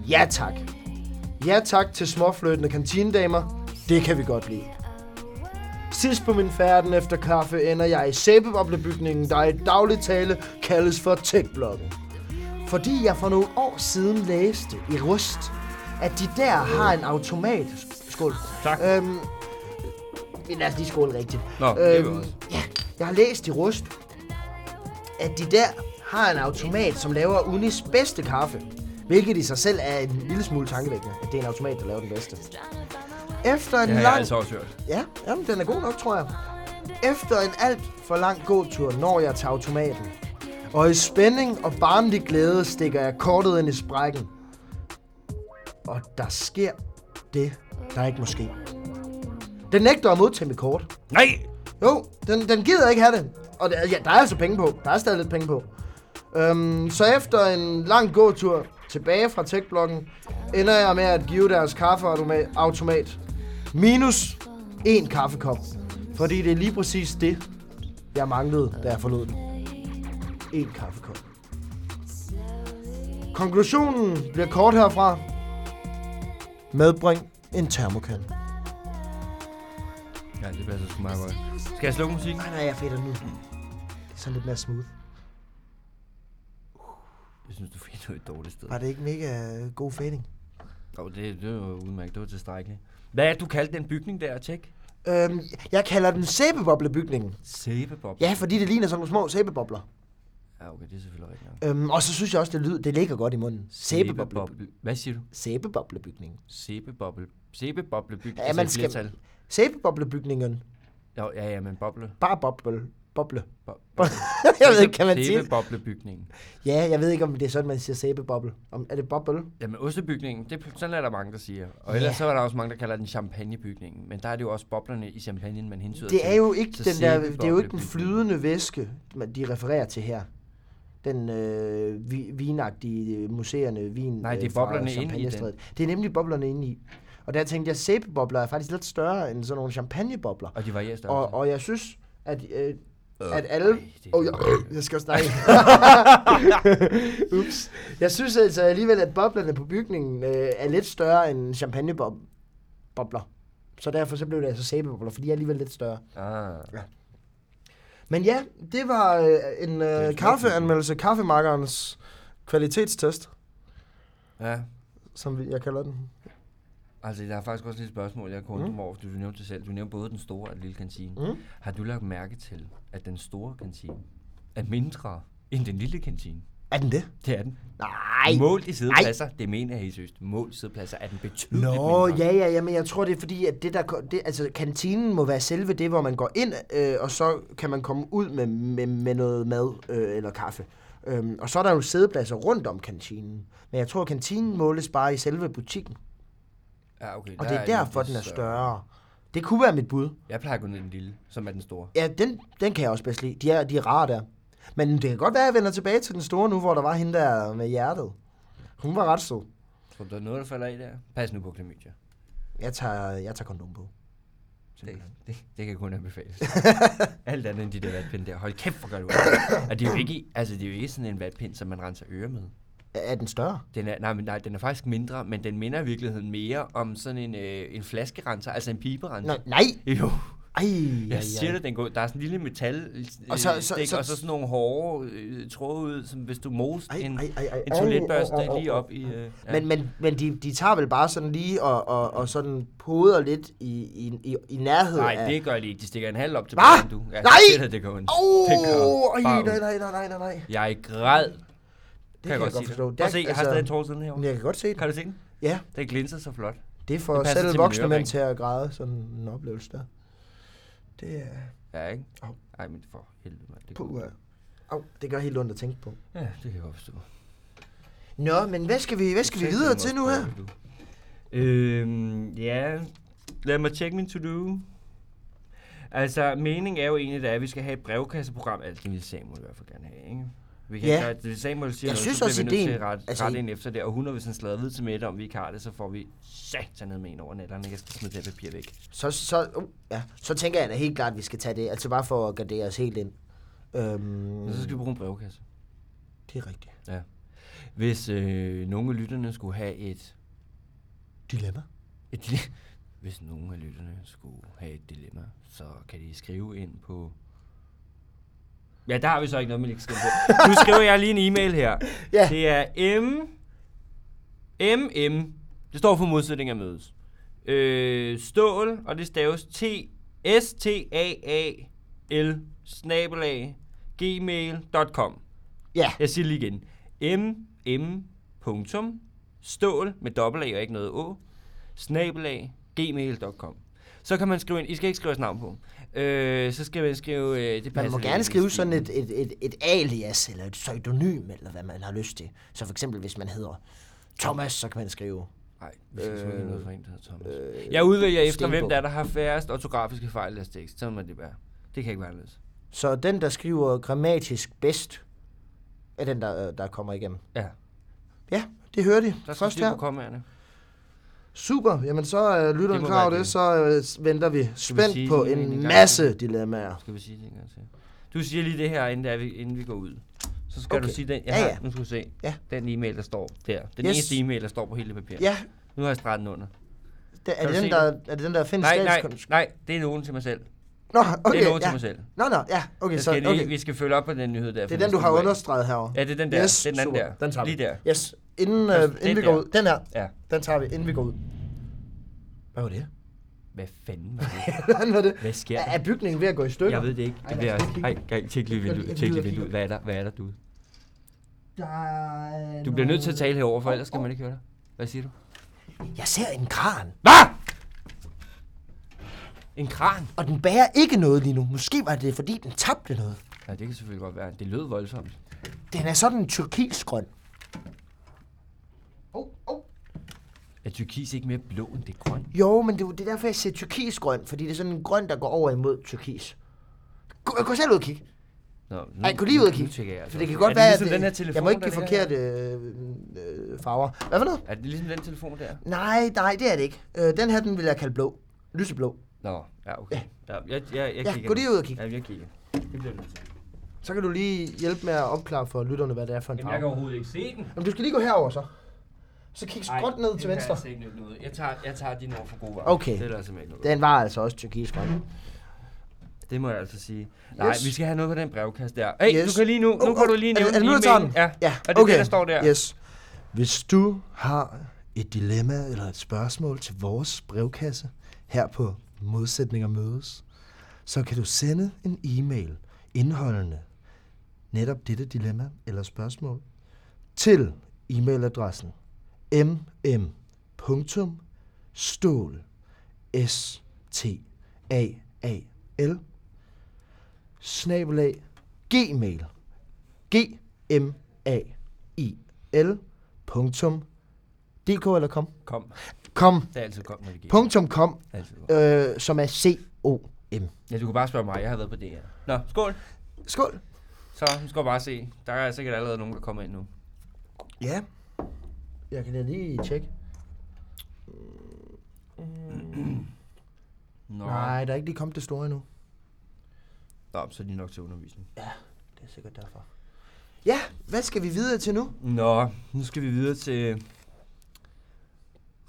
S1: ja tak. Ja tak til småfløtende kantinedamer. Det kan vi godt lide. Sidst på min færden efter kaffe ender jeg i sæbeboblebygningen, der i daglig tale kaldes for Techblokken. Fordi jeg for nogle år siden læste i Rust, at de der har en automat... Skål.
S2: Tak.
S1: Øhm, men lad os lige skåle rigtigt. Øhm,
S2: Nå, det er jo også.
S1: ja, jeg har læst i Rust, at de der har en automat, som laver Unis bedste kaffe. Hvilket i sig selv er en lille smule tankevækkende, at det er en automat, der laver den bedste. Efter en
S2: Det har jeg
S1: lang...
S2: altså også hørt.
S1: Ja, jamen, den er god nok, tror jeg. Efter en alt for lang gåtur når jeg til automaten. Og i spænding og barnlig glæde stikker jeg kortet ind i sprækken. Og der sker det, der ikke må ske. Den nægter at modtage mit kort.
S2: Nej!
S1: Jo, den, den gider ikke have det. Og det, ja, der er altså penge på. Der er stadig lidt penge på. Øhm, så efter en lang gåtur tilbage fra techblokken, ender jeg med at give deres kaffeautomat minus en kaffekop. Fordi det er lige præcis det, jeg manglede, da jeg forlod den. En kaffekop. Konklusionen bliver kort herfra. Medbring en termokan.
S2: Ja, det passer sgu meget godt. Skal jeg slukke musikken?
S1: Nej, nej, jeg fedter den ud. Sådan lidt mere smooth.
S2: Jeg synes, du fik noget et dårligt sted.
S1: Var det ikke mega øh, god fading?
S2: Jo, det, det var udmærket. Det var tilstrækkeligt. Hvad er det, du kaldte den bygning der? Tjek.
S1: Øhm, jeg kalder den sæbeboblebygningen.
S2: Sæbebob.
S1: Ja, fordi det ligner sådan nogle små sæbebobler.
S2: ja. okay, det er selvfølgelig rigtigt nok.
S1: Øhm, og så synes jeg også, det, lyder, det ligger godt i munden. Sæbeboble,
S2: Sæbeboble- Hvad siger du?
S1: sæbeboblebygningen.
S2: Sæbeboble. Sæbeboblebygning.
S1: Ja,
S2: altså
S1: man
S2: i
S1: skal-
S2: flertal.
S1: Sæbeboblebygningen.
S2: Jo, ja, ja, men boble.
S1: Bare boble. Boble.
S2: Bo-
S1: jeg ved ikke, kan man sige det?
S2: Sæbeboblebygningen.
S1: Ja, jeg ved ikke, om det er sådan, man siger sæbeboble. Om, er det boble?
S2: Jamen, ostebygningen, det, sådan er der mange, der siger. Og ellers
S1: Ja.
S2: så er der også mange, der kalder den champagnebygningen. Men der er det jo også boblerne i champagnen, man hensyder
S1: Det
S2: til.
S1: er jo ikke
S2: Så
S1: den der, det er jo ikke den
S2: sæbeboblebygningen.
S1: flydende væske, man- de refererer til her. Den øh, vi, vinagtige øh, museerne vin.
S2: Nej, det er
S1: øh, fra
S2: boblerne inde i den.
S1: Champagnestrædet. Det er nemlig boblerne inde i. Og der tænkte jeg, sæbebobler er faktisk lidt større end sådan nogle champagnebobler.
S2: Og de varierer størrelse.
S1: Og, og jeg synes, at, øh,
S2: Øh,
S1: at alle...
S2: ej, det er
S1: Åh, jeg, jeg skal også snakke. Ups. Jeg synes altså alligevel, at boblerne på bygningen øh, er lidt større end champagnebobler. Så derfor så blev det altså sæbebobler, for de er alligevel lidt større.
S2: Ah.
S1: Men ja, det var øh, en
S2: en
S1: øh,
S2: flot
S1: kaffeanmeldelse, kaffemarkerens kvalitetstest,
S2: Ah, Ja.
S1: som vi- jeg kalder den.
S2: Altså, der er faktisk også lidt spørgsmål, jeg kunne mm. over, fordi du nævnte det selv. Du nævnte både den store og den lille kantine.
S1: Mm.
S2: Har du lagt mærke til, at den store kantine er mindre end den lille kantine.
S1: Er den det?
S2: Det er den.
S1: Nej.
S2: Målt i sidepladser, det mener jeg helt seriøst. Målt i sidepladser er den betydeligt
S1: Nå,
S2: mindre.
S1: ja, ja, ja, men jeg tror, det er fordi, at det der, ko- det, altså, kantinen må være selve det, hvor man går ind, øh, og så kan man komme ud med, med, med noget mad øh, eller kaffe. Øhm, og så er der jo sædepladser rundt om kantinen. Men jeg tror, at kantinen måles bare i selve butikken,
S2: ja okay,
S1: og
S2: der
S1: det er
S2: en
S1: derfor,
S2: lidt
S1: den er større. Det kunne være mit bud.
S2: Jeg plejer at gå ned i den lille, som er den store.
S1: Ja, den, den kan jeg også bedst lide. De er, de er rare der. Men det kan godt være, at jeg vender tilbage til den store nu, hvor der var hende der med hjertet. Hun var ret sød.
S2: Tror du, der er noget, der falder i der? Pas nu på klamydia.
S1: Jeg tager, jeg tager kondom på.
S2: Det, det, det kan kun anbefales. Alt andet end de der vatpinde der. Hold kæft, hvor gør du Og det er jo ikke, i- altså, det er jo ikke sådan en vatpind, som man renser ører med.
S1: Er er den større?
S2: Den er, nej, men nej, den er faktisk mindre, men den minder i virkeligheden mere om sådan en, øh, en flaskerenser, altså en piberenser.
S1: Nej, nej.
S2: Jo,
S1: Ej, ej,
S2: jeg siger dig, den går. Der er sådan en lille metal, øh,
S1: Og så- så-
S2: stik,
S1: så-
S2: og så sådan nogle hårde øh, tråde ud, som hvis du moser
S1: Ej,
S2: en,
S1: ej, ej, ej.
S2: en
S1: Au,
S2: toiletbørste
S1: au, au, au,
S2: lige
S1: au.
S2: op i... Øh, ja.
S1: Men, men, men de, de tager vel bare sådan lige og, og, og sådan poder lidt i, i, i, i nærheden
S2: Nej,
S1: af...
S2: det gør de ikke. De stikker en halv op til
S1: Hva?
S2: du. Ja,
S1: Nej!
S2: Det, der, det går ondt.
S1: Åh,
S2: det går
S1: oh,
S2: bare
S1: nej,
S2: ondt.
S1: nej, nej, nej, nej, nej.
S2: Jeg græd. Det
S1: kan jeg godt
S2: sige
S1: forstå.
S2: dig.
S1: Der-
S2: Prøv at se, jeg har
S1: altså-
S2: stadig en tår siden herovre.
S1: Men jeg kan godt se det.
S2: Kan du se den?
S1: Ja,
S2: Den glinser så flot.
S1: det får
S2: Det passer til
S1: selv
S2: min
S1: voksne mænd
S2: ørering.
S1: til at græde sådan en oplevelse der. Det er...
S2: Ja, ikke?
S1: Au.
S2: Ej, men for helvede, mand. Det,
S1: Puh, ja. Au, det gør helt ondt at tænke på.
S2: ja, det kan jeg godt forstå.
S1: Nå, men hvad skal vi, hvad skal vi
S2: Tænk,
S1: videre
S2: den
S1: til
S2: var
S1: nu her?
S2: dårlig, du. Øhm, ja. Lad mig tjekke min to-do. Altså, meningen er jo egentlig, det er, at vi skal have et brevkasseprogram. Altså, det vil Samuel i hvert fald gerne have, ikke? Vi kan
S1: Ja.
S2: gøre, det Samuel siger,
S1: Jeg
S2: noget,
S1: synes
S2: så bliver
S1: også,
S2: vi nødt til
S1: ideen-
S2: at rette,
S1: altså,
S2: altså, rette ind efter det. Og hun har hvis han slaget ved til middag, om vi ikke har det, så får vi satan ned med en over nætterne. Jeg skal smide det her papir væk.
S1: Så, så, uh, ja, så tænker jeg da helt klart, at vi skal tage det. Altså bare for at gardere os helt ind. Øhm,
S2: Men så skal vi bruge en brevkasse.
S1: det er rigtigt.
S2: Ja. Hvis øh, nogle af lytterne skulle have et...
S1: Dilemma.
S2: et dile- hvis nogen af lytterne skulle have et dilemma, så kan de skrive ind på... Ja, der har vi så ikke noget, man ikke skrive på. Nu skriver jeg lige en e-mail her.
S1: Ja.
S2: Det er M... MM. Det står for modsætning af mødes. Øh, stål, og det staves T... S-T-A-A-L snabelag gmail.com
S1: Ja,
S2: jeg siger det lige igen. mm. punktum, Stål med dobbelt A og ikke noget å. Snabelag gmail.com. Så kan man skrive ind. I skal ikke skrive jeres navn på. Øh, så skal man skrive... Øh, det
S1: man må
S2: passer
S1: gerne
S2: lidt
S1: skrive
S2: ind i
S1: sådan
S2: stilen.
S1: et, et, et, et alias, eller et pseudonym, eller hvad man har lyst til. Så for eksempel, hvis man hedder Thomas, så kan man skrive...
S2: Nej, vi skal øh, ikke noget for en, der hedder Thomas. Øh, jeg udvælger efter, hvem der er, der har færrest ortografiske fejl i deres tekst. Så må det være. Det kan ikke være anderledes.
S1: Så den, der skriver grammatisk bedst, er den, der, øh, der kommer igennem.
S2: Ja,
S1: Ja, det hører de.
S2: der skal
S1: Først
S2: styr på
S1: her.
S2: kommaerne.
S1: Super. Jamen så øh, lytter en
S2: må
S1: klar
S2: være
S1: over det,
S2: det.
S1: så øh, venter vi spændt
S2: sige
S1: på
S2: sådan en i
S1: en
S2: gang?
S1: masse dilemmaer.
S2: Skal vi sige det en gang til? Du siger lige det her, inden, der, vi, inden vi går ud. Så skal
S1: Okay.
S2: du sige den, jeg
S1: Ja,
S2: ja,
S1: ja.
S2: ja. har, nu skal du se,
S1: Ja.
S2: ja. den e-mail, der står der. Den
S1: Yes.
S2: yes. eneste e-mail, der står på hele papiret.
S1: Ja,
S2: Nu har jeg stregen under.
S1: det,
S2: Kan
S1: er, det
S2: du
S1: den,
S2: se
S1: der, er det den, der findes
S2: Nej, nej,
S1: statskons-
S2: nej, det er nogen til mig selv.
S1: Nå, okay,
S2: det er nogen
S1: ja.
S2: til mig selv.
S1: Nå, nå, ja, okay,
S2: Jeg
S1: så,
S2: skal lige,
S1: okay.
S2: Vi skal følge op på den nyhed der.
S1: Det
S2: for
S1: er den, du
S2: skal
S1: har
S2: ud af.
S1: understreget herovre.
S2: Ja, det er den der.
S1: Yes,
S2: det er den
S1: super.
S2: der.
S1: Den tager vi.
S2: lige der.
S1: Yes, inden, øh,
S2: Den
S1: inden
S2: der.
S1: vi går ud. Den her,
S2: Ja.
S1: den tager vi, inden vi går ud. Hvad var det?
S2: Hvad fanden var det?
S1: Hvad var det?
S2: Hvad sker
S1: Er,
S2: der?
S1: er bygningen ved at gå i stykker?
S2: Jeg ved det ikke.
S1: Ej,
S2: Det
S1: lad
S2: bliver
S1: os
S2: også...
S1: kigge.
S2: Ej, gang, tjek lige
S1: Jeg kigger-
S2: vinduet.
S1: jeg
S2: Tjek lige
S1: kigger-
S2: vinduet. Hvad er der? Hvad er der, du?
S1: Der er
S2: Du bliver nødt til at
S1: noget-
S2: tale herover, for ellers kan man ikke høre dig. Hvad siger du?
S1: Jeg ser en kran,
S2: Hvad? En kran?
S1: og den bærer ikke noget lige nu. Måske var det, fordi den tabte noget.
S2: Ja, det kan selvfølgelig godt være. Det lød voldsomt.
S1: Den er sådan en turkisgrøn. Oh, oh.
S2: Er turkis ikke mere blå, end det er grøn?
S1: Jo, men det, er jo- det er derfor, jeg siger turkisgrøn, fordi det er sådan en grøn, der går over imod turkis. Gå, gå selv ud og kig.
S2: Nå, nu,
S1: Ej, gå lige ud og kigge.
S2: Nu tjekker jeg altså.
S1: For det kan
S2: Er
S1: godt være,
S2: ligesom
S1: at det-
S2: den her telefon,
S1: jeg må ikke
S2: der
S1: give
S2: ligger her?
S1: forkerte øh, øh, farver. Hvad for noget?
S2: Er det ligesom den telefon der?
S1: Nej, nej, det er det ikke. Øh, den her, den vil jeg kalde blå. Lyseblå.
S2: Nå, ja, okay. Ja, jeg, jeg, jeg
S1: Ja,
S2: kigger.
S1: gå
S2: nu.
S1: lige ud og kig.
S2: Ja, jeg kigger. Det bliver nødt til.
S1: Så kan du lige hjælpe med at opklare for lytterne, hvad det er for en farve. Jamen,
S2: overhovedet ikke se den.
S1: du skal lige gå herover så. Så kig skråt ned til venstre.
S2: Jeg, ikke noget. jeg tager, jeg tager din over for gode varer.
S1: Okay.
S2: Det er der simpelthen ikke noget.
S1: Den var altså også turkisgrøn.
S2: Det må jeg altså sige. Nej,
S1: Yes.
S2: yes. vi skal have noget på den brevkasse der. Hey,
S1: Yes.
S2: yes. du kan lige nu, nu
S1: Oh,
S2: kan
S1: oh,
S2: du lige
S1: er det-
S2: nævne
S1: er det nu, jeg tager
S2: e-mailen.
S1: den?
S2: Ja, ja. og det er det, der står der.
S1: Yes.
S3: Hvis du har et dilemma eller et spørgsmål til vores brevkasse her på Modsætninger Mødes, så kan du sende en e-mail indholdende netop dette dilemma eller spørgsmål til e-mailadressen mm mm.stål s t a a l snabelag gmail g m a i l punktum dk eller kom
S2: Kom.
S3: kom
S2: Det er altid kom, når vi giver.
S3: punktum kom
S2: Altid kom.
S3: øh, som er c o m
S2: Ja, du kan bare spørge mig. Jeg har været på DR. Nå, skål.
S3: skål
S2: Så nu skal jeg bare se. Der er sikkert allerede nogen, der kommer ind nu.
S3: ja
S1: Jeg kan da lige tjekke.
S2: Nå.
S3: nej der er ikke lige kommet det store endnu
S2: Nå, så er de nok til undervisning.
S1: Det er sikkert derfor.
S3: ja hvad skal vi videre til nu
S2: Nå, nu skal vi videre til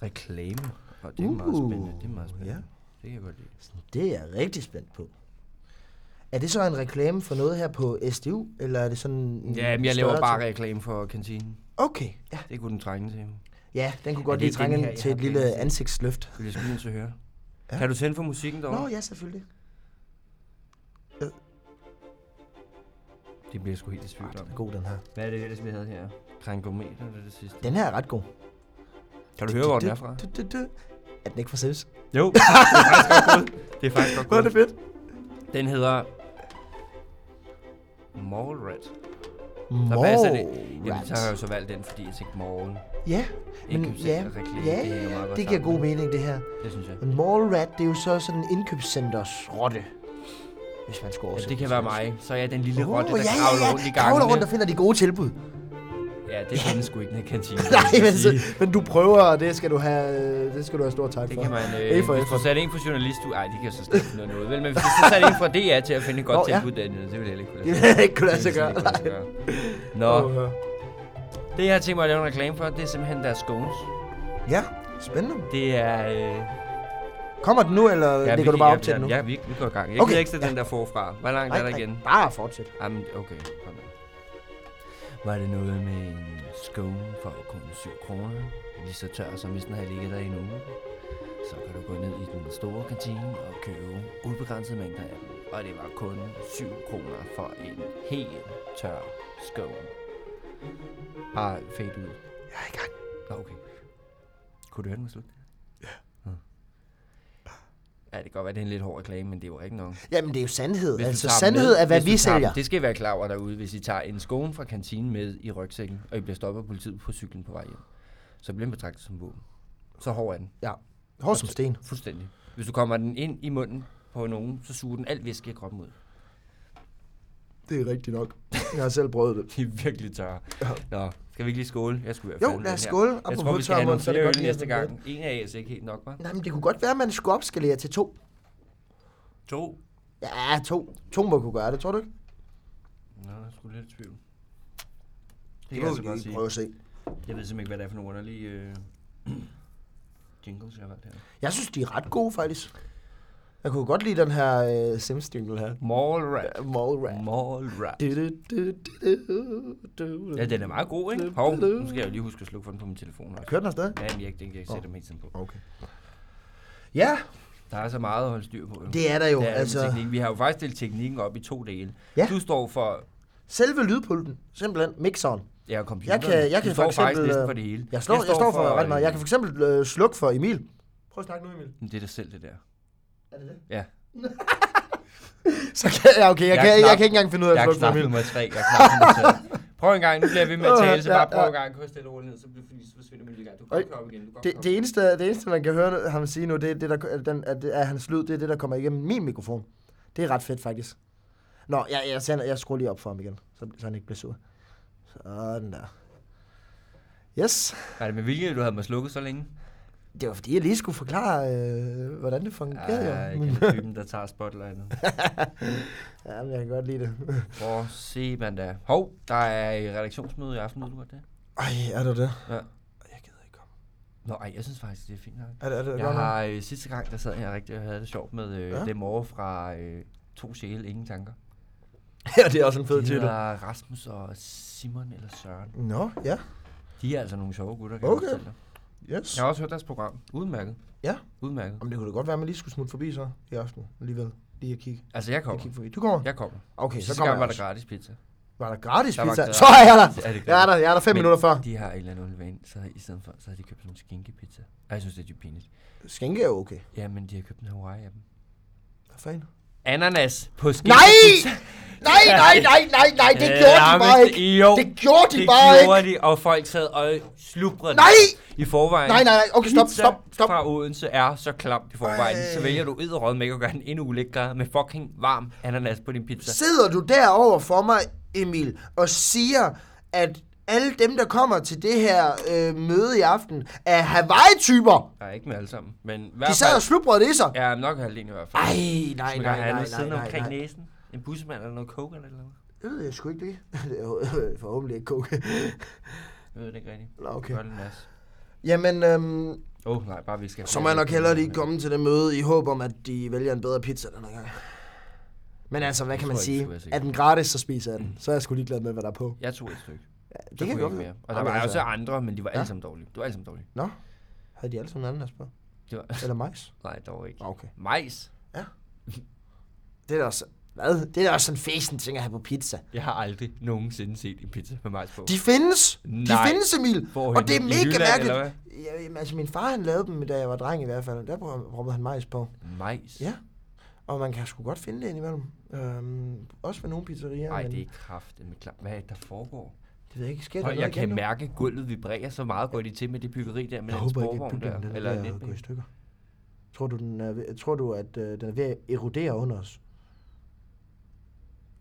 S2: reklame. Og det er meget
S3: Uh,
S2: spændende. Det er meget spændende.
S3: ja.
S2: Det kan jeg godt lide.
S1: Det er jeg rigtig spændt på. Er det så en reklame for noget her på SDU, eller er det sådan... en
S2: Ja, men jeg
S1: Mm, større
S2: laver bare
S1: ting?
S2: reklame for kantinen.
S1: Okay, ja.
S2: Det kunne den trænge til. Det
S1: Ja, den kunne godt
S2: det er
S1: lige trænge
S2: den her,
S1: ind
S2: jeg
S1: til
S2: har
S1: et lille
S2: planlagt.
S1: ansigtsløft.
S2: vil jeg sgu nødt til at høre. Ja. Kan du tænde for musikken derovre?
S1: Nå, ja, selvfølgelig.
S2: Det bliver jeg sgu helt i tvivl om.
S1: Den er god, den her.
S2: Hvad er det ellers, vi havde her? Krænkometer, det er det sidste.
S1: Den her er ret god.
S2: Kan du høre, hvor den er
S1: Du-
S2: fra?
S1: du- du- du. Er den ikke fra Sims?
S2: Jo, det er faktisk godt gået. Det er faktisk godt
S1: Hvor er det
S2: gået.
S1: fedt.
S2: Den hedder... Mallrat. Så passer det. Jamen, så har jeg
S3: Morrat.
S2: jo så valgt den, fordi jeg tænkte morgen.
S1: Ja, men
S2: Indkøbscenter,
S1: ja,
S2: reklame,
S1: ja,
S2: det hænger meget godt
S1: det giver god
S2: sammen.
S1: mening, det her.
S2: Det synes jeg.
S1: Men Mallrat, det er jo så sådan en indkøbscenters rotte, hvis man skulle
S2: Ja,
S1: oversætte
S2: det kan være mig. Så er jeg den lille
S1: Åh,
S2: rotte, der
S1: ja, ja,
S2: kravler
S1: ja.
S2: rundt i
S1: Kravler rundt og
S2: gangen.
S1: finder de gode tilbud.
S2: Ja, det findes sgu ikke i den her kantine.
S1: Nej,
S2: vil jeg
S1: men, så,
S2: sige.
S1: men du prøver, og det skal du have, det skal du have stor tak
S2: Det
S1: for.
S2: kan man...
S1: A
S2: Øh,
S1: for
S2: hvis du
S1: effort.
S2: satte en fra journalist, du... Ej, det kan jeg så slet ikke finde noget. Vel, men hvis du så satte en fra DR til at finde et godt
S1: Nå, ja.
S2: tilbud, dernede, det ville jeg heller ikke kunne
S1: Det
S2: lade sig
S1: vil jeg
S2: Det
S1: ikke kunne lade sig gøre.
S2: ville jeg slet ikke kunne lade sig gøre. Nå,
S1: Åh,
S2: det jeg har tænkt mig at lave en reklame for, det er simpelthen deres scones.
S3: ja
S1: Spændende.
S2: Det er... Øh,
S3: kommer den nu eller
S2: Ja,
S3: ligger
S2: vi
S3: du bare
S2: gik-
S3: op til
S2: ja,
S3: den nu
S2: Ja, vi, vi går i gang. Jeg okay.
S3: Okay.
S2: gider ikke sætte den der forfra. Hvor langt
S1: Nej,
S2: er der
S1: nej,
S2: igen?
S1: Bare fortsæt.
S2: Jamen, Ah, okay. Kom nu. Var det noget med en scone for kun 7 kroner? Lige så tør, som hvis den havde ligget der i en uge. Så kan du gå ned i den store kantine og købe ubegrænsede mængder af dem. Og det var kun 7 kroner for en helt tør scone. Bare fade ud.
S1: Jeg er i gang.
S2: Nå, okay. Kunne du høre den var slut? Ja. Ja, det kan godt være, det er en lidt hård reklame, men det er jo rigtigt nok.
S1: Jamen, det er jo sandhed.
S2: Hvis du
S1: altså,
S2: tager dem
S1: sandhed
S2: med-
S1: er, hvad
S2: hvis du
S1: vi
S2: tager dem-
S1: sælger.
S2: Det skal I være klar over derude, hvis I tager en skåne fra kantinen med i rygsækken, og I bliver stoppet af politiet på cyklen på vej hjem. Så bliver den betragtet som våben. Så hård er den.
S1: Ja. Hård som sten.
S2: Fuldstændig. Hvis du kommer den ind i munden på nogen, så suger den alt væske i kroppen ud.
S1: Det er rigtigt nok. Jeg har selv prøvet det.
S2: De er virkelig tørre. Nå, skal vi ikke lige skåle? Jeg skulle være
S1: Jo,
S2: færdig med
S1: lad os
S2: den her.
S1: skåle.
S2: Jeg
S1: Apropos
S2: tror, vi skal
S1: tørre
S2: have
S1: mund,
S2: nogle
S1: så er det
S2: flere
S1: godt
S2: øl
S1: lige at
S2: næste
S1: vente
S2: gang. En af jer er ikke helt nok, hva'?
S1: Nej, men det kunne godt være, at man skulle opskalere til to.
S2: To.
S1: Ja, to. To må kunne gøre det, tror du ikke?
S2: Nå, jeg skulle lidt i tvivl. Det
S1: Det
S2: kan jeg
S1: må vi
S2: altså godt
S1: lige
S2: sige.
S1: prøve at se.
S2: Jeg ved simpelthen ikke, hvad det er for nogle underlige øh, jingles, jeg har valgt her.
S1: Jeg synes, de er ret gode, faktisk. Jeg kunne godt lide den her øh, sims jingle her.
S2: Mallrat.
S1: Mallrat.
S2: Mallrat.
S1: Du, du, du, du, du, du, du.
S2: Ja, den er meget god, ikke? Hov, nu skal jeg jo lige huske at slukke for den på min telefon også.
S1: Kører den afsted?
S2: Ja, men jeg, den kan jeg ikke sætte mig hele tiden på.
S1: Okay. Ja,
S2: Der er så meget at holde styr på. Jo.
S1: det er der jo.
S2: det er altså...
S1: altså,
S2: teknik. Vi har jo faktisk delt teknikken op i to dele.
S1: Ja.
S2: Du står for
S1: selve lydpulten, simpelthen mixeren.
S2: ja, computeren.
S1: Jeg kan,
S2: du
S1: jeg kan
S2: står
S1: for
S2: faktisk
S1: eksempel...
S2: næsten
S1: øh,
S2: for det hele.
S1: Jeg, slår, jeg, står for, ret meget. Jeg kan for eksempel øh, slukke for Emil. Prøv at snakke nu, Emil.
S2: Men Det er dig selv, det der.
S1: Er det det?
S2: Ja.
S1: Så kan jeg, okay,
S2: Jeg
S1: jeg, jeg, kan,
S2: er knap-
S1: jeg kan ikke engang finde ud af
S2: Jeg
S1: at
S2: er
S1: slukke for
S2: knap
S1: Emil.
S2: nummer tre. Jeg er knap nummer tre. Prøv en gang. Nu bliver jeg ved med at tale, så
S1: Ja,
S2: bare prøv
S1: ja.
S2: en gang. Kun stille roligt ned, så bliver fordi så forsvinder min lille gang. Du
S1: Øj.
S2: kan komme igen. Du kan
S1: Det, det, eneste, det eneste, man kan høre ham sige nu, det er, det, der, at den, at, at hans lyd, det er det, der kommer igennem min mikrofon. Det er ret fedt, faktisk. Nå, jeg, jeg, sender, jeg skruer lige op for ham igen, så, så han ikke bliver sur. Sådan der. Yes.
S2: Var det med vilje, du havde mig slukket så længe?
S1: Det var fordi, jeg lige skulle forklare, øh, hvordan det fungerede.
S2: Ja,
S1: Ja,
S2: jeg kan typen, der tager spotlightet.
S1: ja, men jeg kan godt lide det.
S2: Hvor se man da. Hov, der er øh, redaktionsmøde i aften, ved du godt det?
S1: Ej, er der det?
S2: Ja.
S1: Jeg gider ikke komme.
S2: Nå, ej, jeg synes faktisk, det er fint nok.
S1: Er det, er det
S2: Jeg
S1: godt nok?
S2: har øh, sidste gang, der sad jeg rigtig og havde det sjovt med øh,
S1: Ja.
S2: ja. dem over fra øh, To Sjæle Ingen Tanker.
S1: Ja, det er også en fed
S2: De
S1: titel.
S2: hedder Rasmus og Simon eller Søren.
S1: Nå, ja.
S2: De er altså nogle sjove gutter, kan
S1: Okay.
S2: jeg fortælle dig.
S1: Yes.
S2: Jeg har også hørt deres program. Udmærket.
S1: Ja.
S2: Udmærket.
S1: Jamen, det kunne da godt være, at man lige skulle smutte forbi så i aften alligevel. Lige at kigge,
S2: Altså, jeg
S1: lige at
S2: kommer.
S1: kigge forbi. Du kommer?
S2: Jeg kommer.
S1: Okay,
S2: Okay,
S1: så
S2: Sidste
S1: kommer
S2: gang
S1: jeg
S2: var der
S1: også.
S2: gratis pizza.
S1: Var der gratis
S2: Der var
S1: pizza?
S2: gratis.
S1: Så er jeg der.
S2: Er det
S1: Jeg er der, jeg er der fem
S2: Men-
S1: minutter før.
S2: De har et eller andet vane, så i stedet for, så har de købt sådan en skinkepizza. Ej, jeg synes, det er dybt pinligt.
S1: Skænke er okay.
S2: Ja, men de har købt en Hawaii af dem.
S1: Hvad fanden?
S2: Ananas på skinkepizza.
S1: Nej! Nej, nej, nej, nej, nej, det gjorde de bare ikke.
S2: Øh, Jo,
S1: Det gjorde de
S2: det
S1: bare ikke.
S2: gjorde de, og folk sad og slubrede
S1: Nej!
S2: i forvejen.
S1: Nej, nej, nej, okay, stop,
S2: Pizza
S1: stop, stop.
S2: fra Odense er så klamt i forvejen. Ej. Så
S1: Ej.
S2: vælger du edderød med at gøre den endnu ulækkere med fucking varm ananas på din pizza.
S1: Sidder du derover for mig, Emil, og siger, at alle dem, der kommer til det her øh, møde i aften, er Hawaii-typer.
S2: Nej, ikke med alle sammen. Men i
S1: De
S2: hvert
S1: sad
S2: fald...
S1: og slubrede i sig.
S2: Ja, nok halvdelen i hvert fald.
S1: Ej, nej,
S2: Man kan
S1: nej,
S2: have
S1: nej,
S2: noget
S1: nej,
S2: siddende
S1: nej,
S2: omkring
S1: nej.
S2: næsen. En bussemand eller noget coke eller noget.
S1: Det ved jeg sgu ikke det. Det er jo- Forhåbentlig ikke koke.
S2: Jeg ved det ikke rigtigt.
S1: Nå, okay.
S2: Gør det en masse.
S1: Jamen, øhm,
S2: Åh, oh, nej, bare vi skal...
S1: Så må jeg nok hellere lige komme til det møde i håb om, at de vælger en bedre pizza denne gang. Men altså, hvad
S2: Det
S1: kan
S2: tror
S1: man
S2: jeg ikke,
S1: sige?
S2: skulle være sikker.
S1: Er den gratis, så spiser jeg den. Så er jeg sgu ligeglad med, hvad der er på.
S2: Jeg tog et stykke.
S1: Det
S2: Så
S1: kan
S2: kunne
S1: godt
S2: jeg
S1: være.
S2: ikke mere. Og der
S1: Jamen,
S2: var
S1: altså,
S2: også andre, men de var
S1: Ja.
S2: alle sammen dårlige. Det var alle sammen dårlige.
S1: Havde de alle sammen ananas på?
S2: Det var...
S1: Eller majs?
S2: Nej, dog ikke.
S1: Ah, okay.
S2: Majs?
S1: Det er da også... Hvad? Det er da også en fesen ting at have på pizza.
S2: Jeg har aldrig nogensinde set en pizza med majs på.
S1: De findes! De
S2: Nej.
S1: findes, Emil!
S2: Hvorhenne?
S1: Og det er
S2: I
S1: mega
S2: Jylland, eller
S1: mærkeligt. Ja, jamen, altså, min far han lavede dem, da jeg var dreng i hvert fald. Der proppede han majs på.
S2: Majs?
S1: Ja. Og man kan sgu godt finde det indimellem. Øhm, også ved nogle pizzerier.
S2: Nej,
S1: men
S2: det er kraft med klart. Hvad er det, der foregår?
S1: det ved jeg ikke. Sker der
S2: Og
S1: noget
S2: jeg
S1: igen
S2: kan
S1: nu?
S2: mærke, at gulvet vibrerer så meget går de til med det byggeri der med den
S1: Jeg håber ikke, at
S2: sporvogn
S1: bygningen
S2: der.
S1: den er
S2: Eller
S1: ved at gå i
S2: lidt.
S1: stykker. Tror du, den er ved, tror du at øh, den er ved at erodere under os?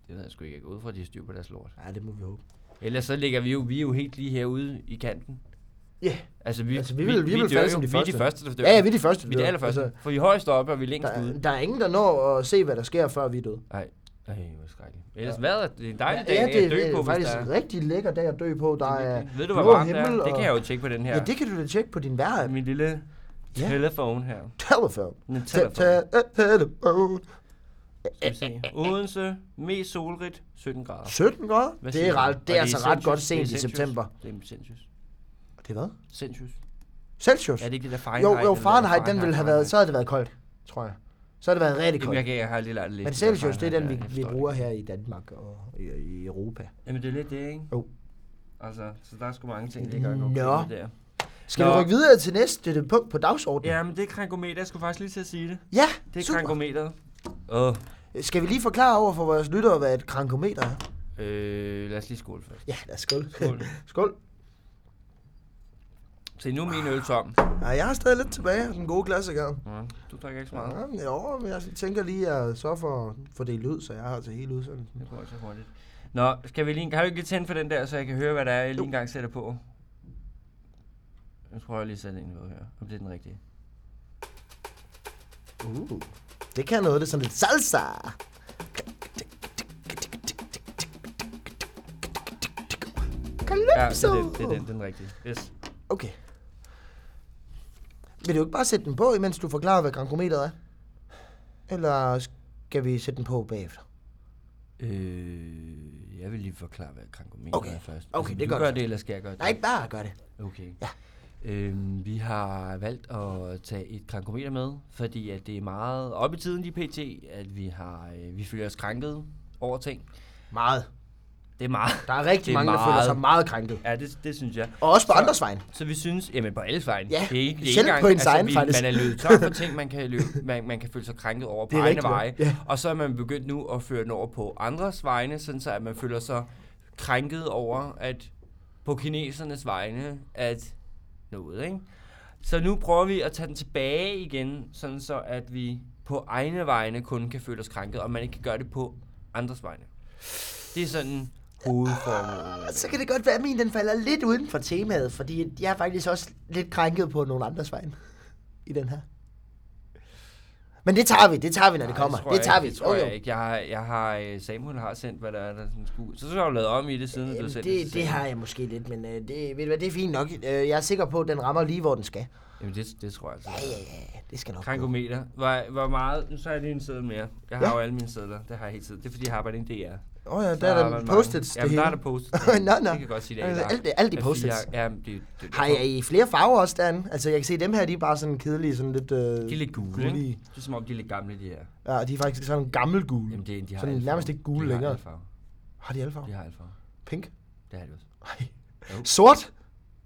S2: Det ved jeg sgu ikke. Jeg går ud fra, at de har styr på deres lort.
S1: Nej, det må vi håbe.
S2: Ellers så ligger vi jo, vi er jo helt lige herude i kanten.
S1: Ja. Yeah.
S2: Altså, vi,
S1: Altså, vi vil- vi vil
S2: dør
S1: falde
S2: jo.
S1: som de
S2: vi er
S1: første.
S2: de første, der dør.
S1: Ja, ja, vi er de første. Altså-
S2: vi er de allerførste. for vi er højst oppe, og vi er længst
S1: der,
S2: ude.
S1: der er ingen, der når at se, hvad der sker, før vi er døde.
S2: Ej, hvor skrækkeligt. Ellers hvad? er- Det er en dejlig dag
S1: ja,
S2: at dø
S1: det er
S2: på, hvis
S1: faktisk
S2: der
S1: en rigtig lækker dag at dø på. Der er,
S2: er... Ved du, hvor
S1: blå
S2: varmt det
S1: himmel,
S2: er? Det
S1: og-
S2: kan jeg jo tjekke på den her.
S1: ja, det kan du da tjekke på din vejr.
S2: Min lille
S1: Ja.
S2: telefon her.
S1: Telefon.
S2: En
S1: Te-
S2: telefon.
S1: te- Telefon.
S2: Skal vi se. Odense, mest solrigt, 17 grader.
S1: 17 grader?
S2: Hvad
S1: Det
S2: siger
S1: er,
S2: du?
S1: ret,
S2: Og
S1: det er altså ret
S2: Celsius.
S1: godt
S2: Det er
S1: sent i
S2: Celsius.
S1: september.
S2: Det er Celsius.
S1: Det er hvad?
S2: Celsius.
S1: Celsius?
S2: Er det ikke det der
S1: Jo,
S2: Fahrenheit?
S1: jo,
S2: eller hvad?
S1: Fahrenheit, den ville have været, så havde det været koldt, tror jeg. Så havde det været rigtig
S2: Jamen,
S1: koldt.
S2: jeg, kan, jeg har lige lært lidt.
S1: Men
S2: det der
S1: Celsius, det er den, vi,
S2: Fahrenheit der, jeg
S1: vi
S2: forstår
S1: bruger her i Danmark og i, i Europa.
S2: det. Jamen, det er lidt det, ikke?
S1: Jo.
S2: Altså, så der er sgu mange ting, det ikke er
S1: Nå.
S2: godt der.
S1: Skal
S2: Nå.
S1: vi rykke videre til næste det punkt på dagsordenen?
S2: Jamen, det er krankometer. Jeg skulle faktisk lige til at sige det.
S1: Ja,
S2: Det er
S1: super.
S2: krankometeret. Åh,
S1: Skal vi lige forklare over for vores lyttere, hvad et krankometer er?
S2: øh, lad os lige skåle først.
S1: Ja, lad os skål.
S2: Skål.
S1: skål.
S2: Se, nu er
S1: Ah.
S2: min øl tom.
S1: Ja, jeg har stadig lidt tilbage af den gode klassiker.
S2: Ja, du drikker ikke så meget.
S1: Ja, jo, men jeg tænker lige at så for at få det ud, så jeg har til hele udsendelsen.
S2: Det går altså hurtigt. Nå, skal vi lige, kan du ikke lige tænde for den der, så jeg kan høre, hvad der er, jeg lige engang sætter på? Jeg tror, jeg lige sætter en ved her, om det er den rigtige.
S1: Uh. Det kan noget, det er sådan lidt salsa.
S2: Ja, det
S1: Calypso.
S2: er, den, det er den, den rigtige. Yes.
S1: Okay. Vil du ikke bare sætte den på, imens du forklarer, hvad grankometeret er? Eller skal vi sætte den på bagefter?
S2: Øh, jeg vil lige forklare, hvad krankometer
S1: Okay.
S2: er først. Altså,
S1: Okay, det
S2: du
S1: gør
S2: gør
S1: det.
S2: det, eller skal jeg gøre det?
S1: Nej, bare gør det.
S2: Okay.
S1: Ja.
S2: Øhm, vi har valgt at tage et krankometer med, fordi at det er meget op i tiden lige pt, at vi, har, øh, vi føler os krænket over ting.
S1: Meget.
S2: Det er meget.
S1: Der er rigtig
S2: Det er
S1: mange, der føler
S2: meget.
S1: sig meget krænket.
S2: Ja, det, det synes jeg.
S1: Og også på
S2: Så-
S1: andres vejen.
S2: Så vi synes, jamen på alles vejen.
S1: Ja,
S2: det er ikke, det er ikke
S1: selv
S2: engang- altså,
S1: på ens egen,
S2: vi,
S1: faktisk.
S2: Man er løbet tør for ting, man kan, løbe, man, man kan føle sig krænket over på
S1: Det er
S2: egne
S1: rigtigt,
S2: veje.
S1: ja.
S2: Og så er man begyndt nu at føre den over på andres vegne, sådan så at man føler sig krænket over, at på kinesernes vegne, at noget, ikke? Så nu prøver vi at tage den tilbage igen, sådan så at vi på egne vegne kun kan føle os krænket, og man ikke kan gøre det på andres vegne. Det er sådan hovedformålet.
S1: Så kan det godt være, at min den falder lidt uden for temaet, fordi jeg er faktisk også lidt krænket på nogle andres vejen i den her. Men det tager vi, det tager vi, når det
S2: Nej,
S1: kommer.
S2: tror
S1: Det
S2: jeg
S1: tager
S2: ikke,
S1: vi.
S2: Det tror
S1: Jo, jo.
S2: jeg ikke. Jeg har, jeg har, øh, Samuel har sendt, hvad der er, der sådan skulle. Så, så har du lavet om i det, siden du
S1: Jamen,
S2: sendte til
S1: det, det
S2: Samuel.
S1: har jeg måske lidt, men øh, det, ved du hvad, det er fint nok. Øh, jeg er sikker på, at den rammer lige, hvor den skal.
S2: Jamen, det, det tror jeg altså.
S1: Ja, ja, ja, det skal nok gå.
S2: Krankometer. Hvor, hvor meget... Nu så har jeg lige en seddel mere. Jeg har
S1: Ja.
S2: ja. jo alle mine sedler. Det har jeg hele tiden. Det er, fordi jeg arbejder i en DR.
S1: Åh oh, ja,
S2: Så
S1: der er der
S2: man
S1: post-its.
S2: mange- Jamen,
S1: det
S2: der er
S1: hele.
S2: der post
S1: Nå, nå.
S2: Det kan jeg godt sige, det er
S1: Altså,
S2: ikke
S1: alt det- alt de
S2: Jeg siger,
S1: post-its.
S2: Ja, men det, det, det
S1: Har jeg i flere farver også derinde? Altså, jeg kan se, at dem her, de er bare sådan kedelige, sådan lidt... Øh,
S2: De er lidt gule, ikke? Det er som om, de er lidt gamle, de her.
S1: Ja, de er faktisk sådan gammel gule.
S2: Jamen, det, de har
S1: Mm. Sådan
S2: alle
S1: nærmest
S2: farver.
S1: ikke gule
S2: de har
S1: længere.
S2: alle farver.
S1: Har de alle farver?
S2: De har alfa.
S1: Pink?
S2: Det har de også.
S1: Nej.
S2: Jo.
S1: Sort?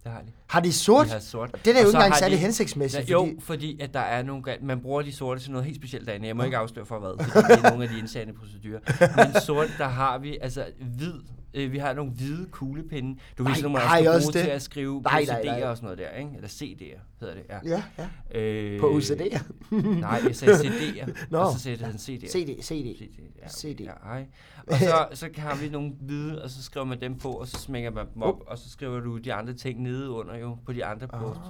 S2: Det har de.
S1: Har de sort?
S2: De har sort.
S1: Det er
S2: Og
S1: jo
S2: så
S1: ikke engang
S2: har
S1: særlig
S2: de-
S1: hensigtsmæssigt,
S2: Ja, jo,
S1: fordi...
S2: fordi... fordi at der er nogle, gal- man bruger de sorte til noget helt specielt derinde. Jeg må ikke afsløre for hvad, fordi det er nogle af de indsatte procedurer. Men sort, der har vi, altså hvid, øh, vi har nogle hvide kuglepinde. Du ved,
S1: Nej,
S2: sådan nogle,
S1: har
S2: man
S1: I
S2: skal
S1: også
S2: bruge til
S1: det?
S2: at skrive
S1: Nej,
S2: nej,
S1: nej,
S2: CD'er
S1: nej.
S2: og sådan noget der, ikke? Eller CD'er hedder det, ja.
S1: Ja, ja.
S2: Øh,
S1: På OCD'er.
S2: Nej, jeg sagde CD'er,
S1: Nå.
S2: og så sagde han CD'er.
S1: CD, CD.
S2: CD. Ja,
S1: CD.
S2: CD. Ja, ej. Og så, så har vi nogle hvide, og så skriver man dem på, og så smækker man dem op, og så skriver du de andre ting nede under jo, på de andre
S1: Ah.
S2: oh. post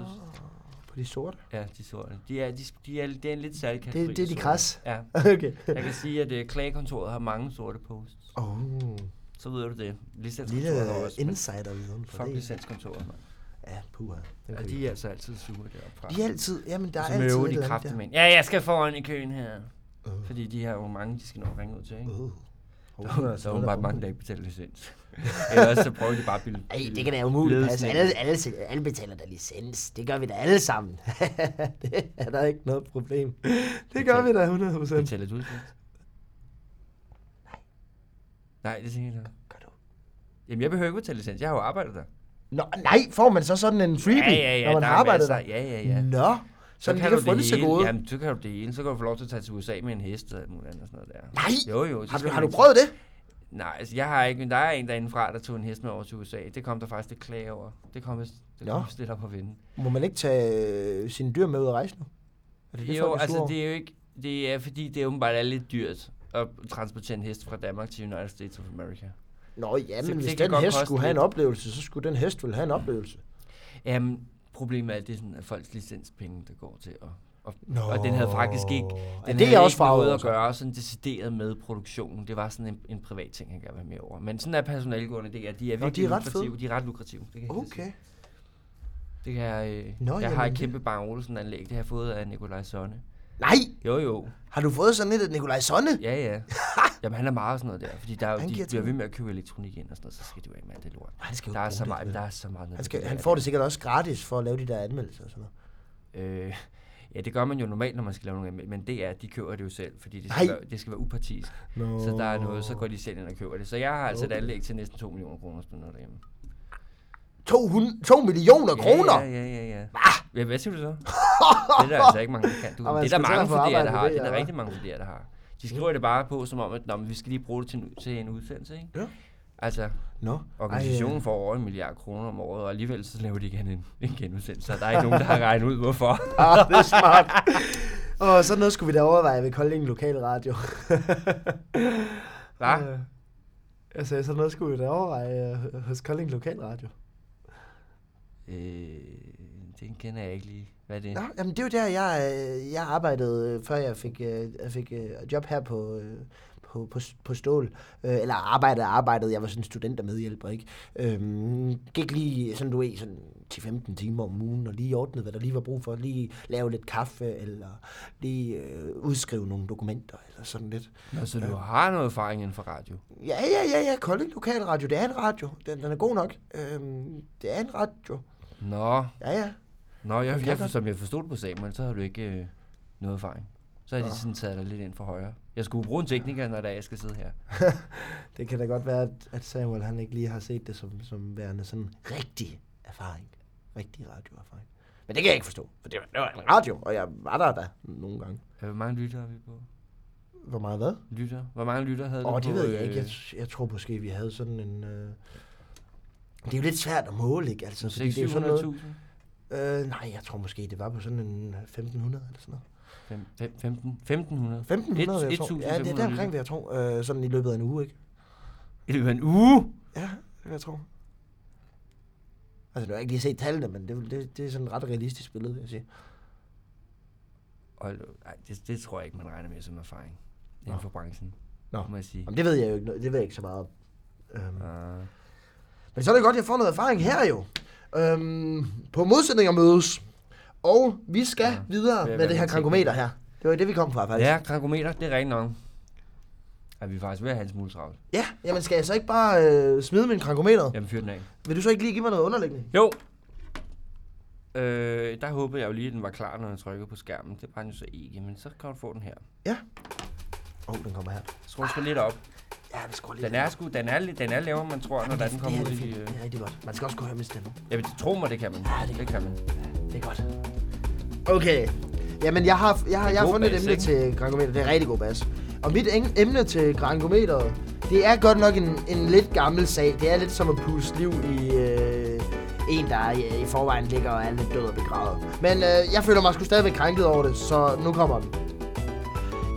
S1: På de sorte.
S2: Ja, de sorte. De er, de, de er, det er en lidt særlig kategori.
S1: Det, det er de
S2: sorte.
S1: græs.
S2: Ja.
S1: Okay.
S2: Jeg kan sige, at øh, klagekontoret har mange sorte posts.
S1: Oh,
S2: Så ved du det.
S1: lille
S2: Licentskontoret har også. men
S1: insider-viden for
S2: Fuck
S1: det.
S2: licenskontoret, mand.
S1: Ja, puha. Den
S2: Ja,
S1: kan vi-
S2: de er altså altid sure deroppe fra.
S1: De er altid, jamen der er
S2: Og så
S1: altid
S2: møver
S1: et
S2: de
S1: eller andet der.
S2: kraftemænd. Ja, jeg skal foran i køen her.
S1: Øh.
S2: Fordi de har jo mange, de skal nå at ringe ud til, ikke?
S1: Uh.
S2: Der er så åbenbart mange, der ikke betaler licens. Ellers så prøver de bare at bilde.
S4: Ej, det kan da umuligt
S2: ledelsen
S4: passe.
S2: ind.
S4: Alle, alle, alle betaler da licens. Det gør vi da alle sammen.
S1: det er der ikke noget problem. Det gør vi da 100 procent.
S2: Betaler du licens? Nej, det tænker jeg ikke.
S1: Gør du?
S2: Jamen, jeg behøver ikke betale licens. Jeg har jo arbejdet der.
S1: Nå, nej, får man så sådan en freebie, når man
S2: der
S1: har
S2: er
S1: arbejdet der?
S2: masser. Ja, ja, ja.
S1: Nå, så kan du
S2: det
S1: frynse
S2: hele.
S1: gode.
S2: Jamen, så kan du det ene. Så kan du få lov til at tage til USA med en hest og alt muligt andet og sådan noget der.
S1: Nej!
S2: Jo, jo. så
S1: Har du,
S2: skal
S1: har du
S2: ikke-
S1: prøvet det?
S2: Nej, altså, jeg har ikke, men der er en derindefra, der tog en hest med over til USA. Det kom der faktisk lidt klage over. Det kom vist, det
S1: Nå.
S2: kom vist lidt op at vinde.
S1: Må man ikke tage øh, sine dyr med ud at rejse nu? Er det det,
S2: Jo,
S1: folk er
S2: altså
S1: sure
S2: det er jo ikke, det er fordi, det er åbenbart er lidt dyrt at transportere en hest fra Danmark til United States of America.
S1: over? Nå, ja,
S2: Så
S1: men
S2: det
S1: hvis
S2: kan
S1: den
S2: godt
S1: hest
S2: koste
S1: skulle have en
S2: lidt.
S1: oplevelse, så skulle den hest vel have en oplevelse.
S2: Jamen, problemet er, at det er sådan, at folks licenspenge, der går til at og, og den havde faktisk ikke,
S1: er
S2: den
S1: det
S2: havde
S1: er også
S2: ikke noget
S1: farvet
S2: at gøre sådan decideret med produktionen. Det var sådan en, en privat ting, han gerne ville have mere over. Men sådan er personalegående det er. De er
S1: Nå,
S2: virkelig
S1: de er ret fede.
S2: lukrative. De er ret lukrative. Det kan jeg helt
S1: altså. Okay.
S2: sikkert sige. Det kan jeg, øh,
S1: Nå,
S2: Nå, jeg
S1: jamen,
S2: har et
S1: det-
S2: kæmpe Bang Olsen-anlæg. Det har jeg fået af Nikolaj Sonne.
S1: Nej,
S2: Jo, jo.
S1: har du fået sådan et af Nikolaj Sonne?
S2: Ja, ja. Jamen, han er meget sådan noget der, fordi der, er jo-
S1: Han giver
S2: de
S1: til
S2: bliver ved med at købe elektronik ind og sådan noget, så skal du af med alt det lort.
S1: Han skal jo
S2: Der er
S1: bruge
S2: så
S1: det,
S2: meget,
S1: vel?
S2: der er så meget.
S1: Han, skal, han får det sikkert også gratis for at lave de der anmeldelser og sådan noget.
S2: Øh, ja, det gør man jo normalt, når man skal lave nogle anmeld- men det er, at de køber det jo selv, fordi det
S1: Nej.
S2: skal, være, det skal være upartisk.
S1: No.
S2: Så der er noget, så går de selv ind og køber det. Så jeg har altså
S1: Okay.
S2: et anlæg til næsten 2 millioner kroner sådan noget derhjemme.
S1: 200, 2 millioner
S2: Ja,
S1: kroner?
S2: Ja, ja, ja, ja. ja hvad siger du så? det er der altså ikke mange, der kan. Du,
S1: Og man
S2: det er
S1: skal
S2: der
S1: til at
S2: mange
S1: få
S2: studerende,
S1: arbejde
S2: der har.
S1: med
S2: Det, det
S1: det,
S2: er der
S1: eller
S2: rigtig mange studerende, der har. De skriver det bare på, som om, at Nå, men vi skal lige bruge det til en, til en udsendelse, ikke?
S1: Ja.
S2: Altså,
S1: Nå.
S2: Organisationen får over en milliard kroner om året, og alligevel så laver de ikke en, en genudsendelse. Så der er ikke nogen, der har regnet ud, hvorfor.
S1: Ah, det er smart. og sådan noget skulle vi da overveje ved Kolding Lokal Radio.
S2: Hva?
S1: Øh, altså, sådan noget skulle vi da overveje øh, hos Kolding Lokal Radio.
S2: Øh, den kender jeg ikke lige. Hvad er det?
S1: Nå, jamen det er jo der, jeg, øh, jeg arbejdede, øh, før jeg fik, øh, jeg fik øh, job her på, øh, på, på, på Stål. Øh, eller arbejdede og arbejdede, jeg var sådan student og medhjælper, ikke? Øhm, gik lige, sådan du ved, sådan 10-15 timer om ugen, og lige ordnede, hvad der lige var brug for. Lige lave lidt kaffe, eller lige øh, udskrive nogle dokumenter, eller sådan lidt.
S2: Nå, så du har noget erfaring inden for radio.
S1: Ja, ja, ja, ja, Kolding Lokalradio, det er en radio. Den, den er god nok. Øhm, det er en radio.
S2: Nå,
S1: Ja, ja.
S2: Nå jeg,
S1: kan
S2: jeg,
S1: godt.
S2: som jeg forstod det på Samuel, så har du ikke øh, noget erfaring. Så har de sådan taget dig lidt ind for højre. Jeg skulle bruge en tekniker, når der er, jeg skal sidde her.
S1: Det kan da godt være, at- at Samuel han ikke lige har set det som, som værende sådan rigtig erfaring. Rigtig radioerfaring. Men det kan jeg ikke forstå, for det var, det var en radio, og jeg var der da nogle gange.
S2: Øh, Hvor mange lytter har vi på?
S1: Hvor meget hvad?
S2: Lytter? Hvor mange lytter havde
S1: Åh,
S2: du
S1: oh, det
S2: på,
S1: ved jeg
S2: øh,
S1: ikke. Jeg, jeg tror måske, vi havde sådan en... Øh... Det er jo lidt svært at måle, ikke? Altså, fordi det er jo sådan noget...
S2: 600.000?
S1: Øh, nej, jeg tror måske, det var på sådan en 1500 eller sådan noget.
S2: Fem- fem- femten- 1500?
S1: 1500,
S2: Et-
S1: vil jeg tror. Ja, det er
S2: 1500
S1: der omkring,
S2: lytter.
S1: vil jeg tro. Øh, sådan i løbet af en uge, ikke?
S2: I løbet af en uge?
S1: Ja, det vil jeg tro. Altså, nu har jeg ikke lige set tallene, men det, det, det er sådan et ret realistisk billede, vil jeg sige.
S2: Hold, ej, det, det tror jeg ikke, man regner med som erfaring inden for branchen.
S1: Nå.
S2: Må jeg sige.
S1: Jamen, det ved jeg jo ikke, noget- det ved jeg ikke så meget om. Øhm,
S2: Uh,
S1: men så er det godt, at jeg får noget erfaring her jo. Øhm, på modsætninger mødes. Og vi skal ja. videre
S2: Ved at
S1: med
S2: være
S1: det her
S2: lidt
S1: krankometer her. Det var det, vi kom fra, faktisk.
S2: ja, krankometer, det er rent nok. Er vi faktisk ved at have en smule travlt?
S1: ja jamen skal jeg så ikke bare øh, smide min krankometer? Ja.
S2: Jamen, fyr den af.
S1: Vil du så ikke lige give mig noget underlægning?
S2: Jo! Øh, der håbede jeg jo lige, at den var klar, når jeg trykkede på skærmen. Det var den jo så ikke, men så kan du få den her.
S1: Ja. Åh, oh, den kommer her.
S2: Skru den lidt op.
S1: Ja, det skal lige
S2: Den er sgu, den er, lidt- den er lavere, end man tror, når
S1: Ah, det,
S2: den kommer ud
S1: det,
S2: i...
S1: det, det,
S2: øh,
S1: det er rigtig godt. Man skal også kunne høre min stemme.
S2: Jamen, tro mig, det kan man.
S1: Ja, det-
S2: det kan man.
S1: Det er godt. Okay. Jamen, jeg har, jeg har, jeg har
S2: god
S1: fundet et
S2: bas,
S1: emne
S2: ikke?
S1: til Grankometer. Det er rigtig god bas. Og mit eng- emne til Grankometeret, det er godt nok en, en lidt gammel sag. Det er lidt som at puste liv i øh, en, der i, i forvejen ligger og er lidt død og begravet. Men øh, jeg føler mig sgu stadigvæk krænket over det, så nu kommer den.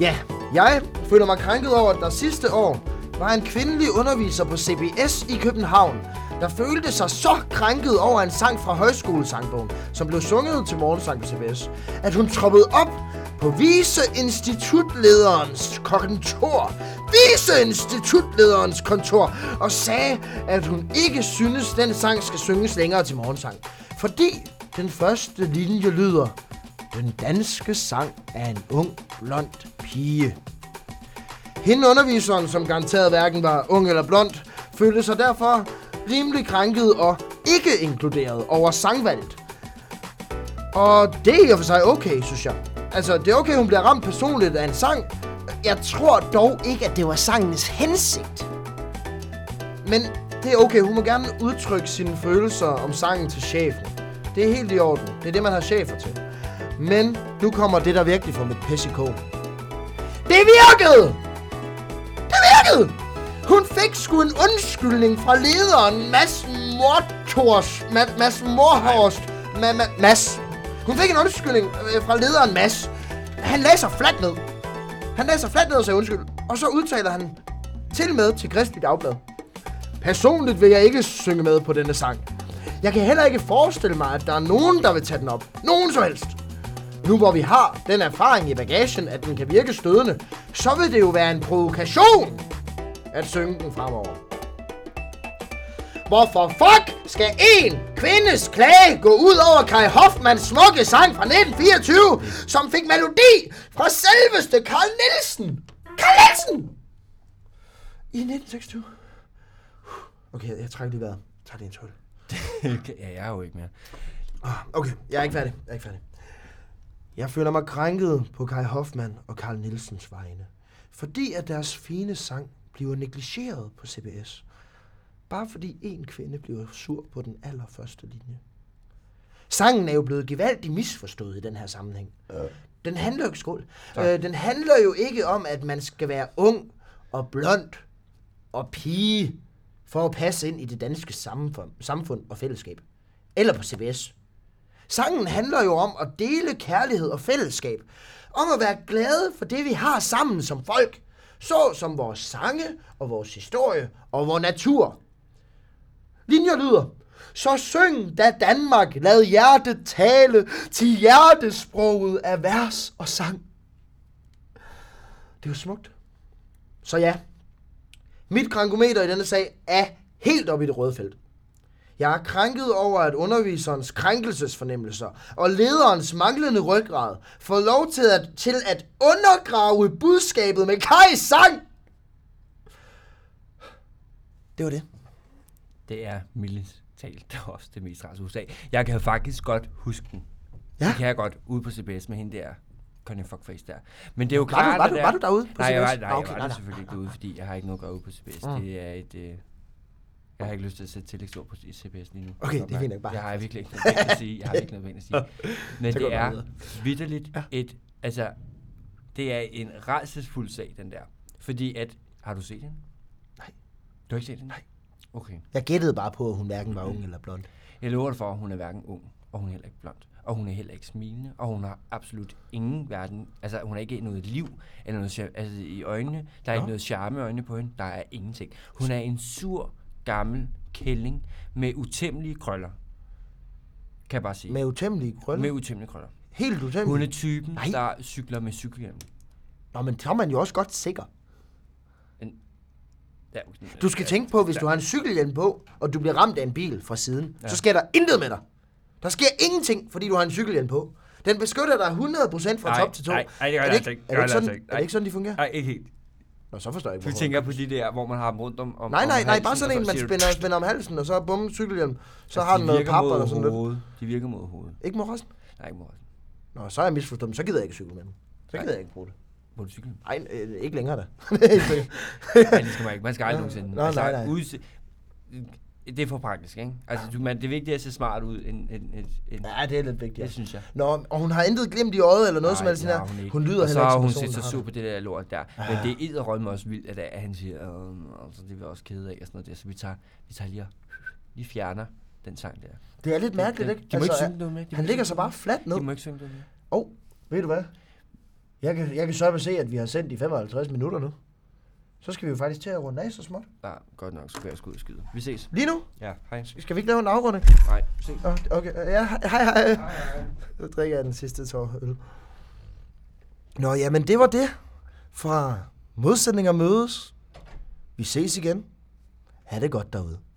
S1: Ja, jeg føler mig krænket over, at der sidste år var en kvindelig underviser på CBS i København, der følte sig så krænket over en sang fra højskolesangbogen, som blev sunget til morgensang på CBS, at hun troppede op på viceinstitutlederens kontor, viceinstitutlederens kontor, og sagde, at hun ikke synes, den sang skal synges længere til morgensang, fordi den første linje lyder, den danske sang er en ung, blond pige. Hende underviseren, som garanteret hverken var ung eller blond, følte sig derfor rimelig krænket og ikke inkluderet over sangvalget. Og det er i og for sig okay, synes jeg. Altså, det er okay, hun bliver ramt personligt af en sang. Jeg tror dog ikke, at det var sangens hensigt. Men det er okay, hun må gerne udtrykke sine følelser om sangen til chefen. Det er helt i orden. Det er det, man har chefer til. Men nu kommer det, der virkelig får mit pis i kogen. Det virkede! Det virkede! Hun fik sgu en undskyldning fra lederen Mads Mortors... Ma- Mads Morhorst... Ma- ma- Mads. Hun fik en undskyldning øh, fra lederen Mads. Han lagde sig fladt ned. Han lagde sig fladt ned og sagde undskyld. Og så udtaler han til med til Kristelig Dagblad. Personligt vil jeg ikke synge med på denne sang. Jeg kan heller ikke forestille mig, at der er nogen, der vil tage den op. Nogen som helst. Nu hvor vi har den erfaring i bagagen, at den kan virke stødende, så vil det jo være en provokation at synge den fremover. Hvorfor fuck skal en kvindes klage gå ud over Kai Hoffmans smukke sang fra 1924, som fik melodi fra selveste Carl Nielsen? Carl Nielsen! I 1926. Okay, jeg trækker lige vejret. Jeg tager lige en tål.
S2: ja, jeg er jo ikke mere.
S1: Ah, Okay, jeg er ikke færdig. Jeg er ikke færdig. Jeg føler mig krænket på Kai Hoffmann og Karl Nielsens vegne, fordi at deres fine sang bliver negligeret på CBS. Bare fordi en kvinde bliver sur på den allerførste linje. Sangen er jo blevet gevaldigt misforstået i den her sammenhæng. Den handler jo, skål, øh, den handler jo ikke om, at man skal være ung og blond og pige for at passe ind i det danske samfund, samfund og fællesskab. Eller på CBS. Sangen handler jo om at dele kærlighed og fællesskab. Om at være glade for det, vi har sammen som folk. Så som vores sange og vores historie og vores natur. Linjer lyder. Så syng da Danmark, lad hjertet tale til hjertesproget af vers og sang. Det er jo smukt. Så ja, mit krankometer i denne sag er helt oppe i det røde felt. Jeg er krænket over, at underviserens krænkelsesfornemmelser og lederens manglende ryggrad får lov til at, til at undergrave budskabet med Kajs sang. Det var det.
S2: Det er mildest talt også det mest rasende sag. Jeg kan faktisk godt huske den.
S1: Ja.
S2: Det kan jeg godt ude på CBS med hende der. Connie Fuckface der. Men det er jo
S1: Var du-
S2: klart,
S1: var
S2: at
S1: du-
S2: der-
S1: var du derude på
S2: nej, Jeg var,
S1: CBS?
S2: nej,
S1: Ah,
S2: jeg
S1: okay,
S2: var
S1: nej, Mm.
S2: der
S1: nej.
S2: selvfølgelig ikke ude, fordi jeg har ikke noget at gøre ude på CBS. Det er et... Øh, jeg har ikke lyst til at sætte tillægsord på CBS lige nu.
S1: Okay, det er fint nok,
S2: ikke
S1: bare-
S2: Jeg har virkelig ikke noget pænt at sige. Jeg har virkelig noget pænt at sige. Men det er vidderligt et... Altså, det er en rædselsfuld sag, den der. Fordi at... Har du set den? Nej. Du har ikke set den? Nej. Okay.
S1: Jeg gættede bare på, at hun hverken var ung eller blond.
S2: Jeg lover dig for, at hun er hverken ung, og hun er heller ikke blond, og hun er heller ikke smilende, og hun har absolut ingen verden. Altså, hun har ikke noget liv eller noget, char- altså, i øjnene. Der er ikke noget charme i øjnene på hende. Der er ingenting. Hun er en sur, gammel kælling med utæmmelige krøller. Kan jeg bare sige.
S1: Med utæmmelige krøller.
S2: med
S1: Med...
S2: utæmmelige krøller.
S1: Helt utæmmelige.
S2: Hun er typen,
S1: Nej.
S2: der cykler med cykelhjelm.
S1: Nå, men så er man jo også godt sikker.
S2: Ja,
S1: Du skal tænke på, hvis du har en cykelhjelm på, og du bliver ramt af en bil fra siden, ja. så sker der intet med dig. Der sker ingenting, fordi du har en cykelhjelm på. Den beskytter dig 100% fra
S2: Nej,
S1: top til to.
S2: nej, nej, det gør
S1: er
S2: jeg
S1: det ikke,
S2: ikke.
S1: er
S2: Det gør
S1: det
S2: jeg
S1: ikke sådan,
S2: altså ikke.
S1: er det ikke sådan, de fungerer?
S2: Nej, ikke helt.
S1: Nå, så forstår jeg ikke,
S2: Du
S1: hvorfor.
S2: tænker på de der, hvor man har dem rundt om, om
S1: Nej,
S2: om
S1: nej, nej,
S2: halsen,
S1: bare
S2: og
S1: sådan en,
S2: så
S1: man
S2: siger du, Altså,
S1: spænder, spænder om halsen, og så bum, cykelhjelm. Så har
S2: de
S1: den noget
S2: virker
S1: pap
S2: mod
S1: eller sådan lidt.
S2: hovedet. De virker mod hovedet.
S1: Ikke mod resten?
S2: Nej, ikke mod resten.
S1: Nå, så er jeg misforstået, men så gider jeg ikke cykle med den. Så gider jeg ikke bruge det.
S2: På du cyklen?
S1: Ej, øh, ikke længere da. Det er helt sikkert.
S2: Nej, det skal man ikke. Man skal aldrig
S1: Nå,
S2: nogensinde.
S1: nå, nej, nej.
S2: Udse- det er for praktisk, ikke? Altså, du, man, det vigtige er at se smart ud, end, end, end, end
S1: ja, det er lidt vigtigt.
S2: det synes jeg.
S1: Nå, og hun har intet glemt i øjet eller noget
S2: Nej,
S1: som helst.
S2: det
S1: Ja,
S2: har
S1: hun,
S2: ikke.
S1: hun lyder
S2: og så
S1: heller ikke
S2: har
S1: som
S2: hun
S1: personen, Ah.
S2: set sig
S1: der har
S2: sur
S1: det.
S2: på det der lort der. Men det er edderrømme også vildt, at, at han siger, "Åh, altså, det er vi også kede af, og sådan noget der. Så vi tager, vi tager lige og lige fjerner den sang der.
S1: Det er lidt mærkeligt, ikke?
S2: De må ikke
S1: Altså,
S2: synge noget med. De må
S1: han
S2: ikke
S1: ligger
S2: synge
S1: sig bare
S2: noget
S1: fladt ned.
S2: med. De må ikke synge noget med.
S1: Åh, oh, ved du hvad? Jeg kan, jeg kan sørge for at se, at vi har sendt i 55 minutter nu. Så skal vi jo faktisk til at runde af så småt.
S2: Nej, Ah, godt nok, så kan jeg sgu ud og skide. Vi ses.
S1: Lige nu?
S2: Ja, hej.
S1: Skal vi ikke lave en afrunding?
S2: Nej, vi ses.
S1: Åh, Okay, øh, ja, hej hej. Nu drikker jeg den sidste tår øl. Nå, jamen det var det. Fra modsætninger mødes. Vi ses igen. Ha' det godt derude.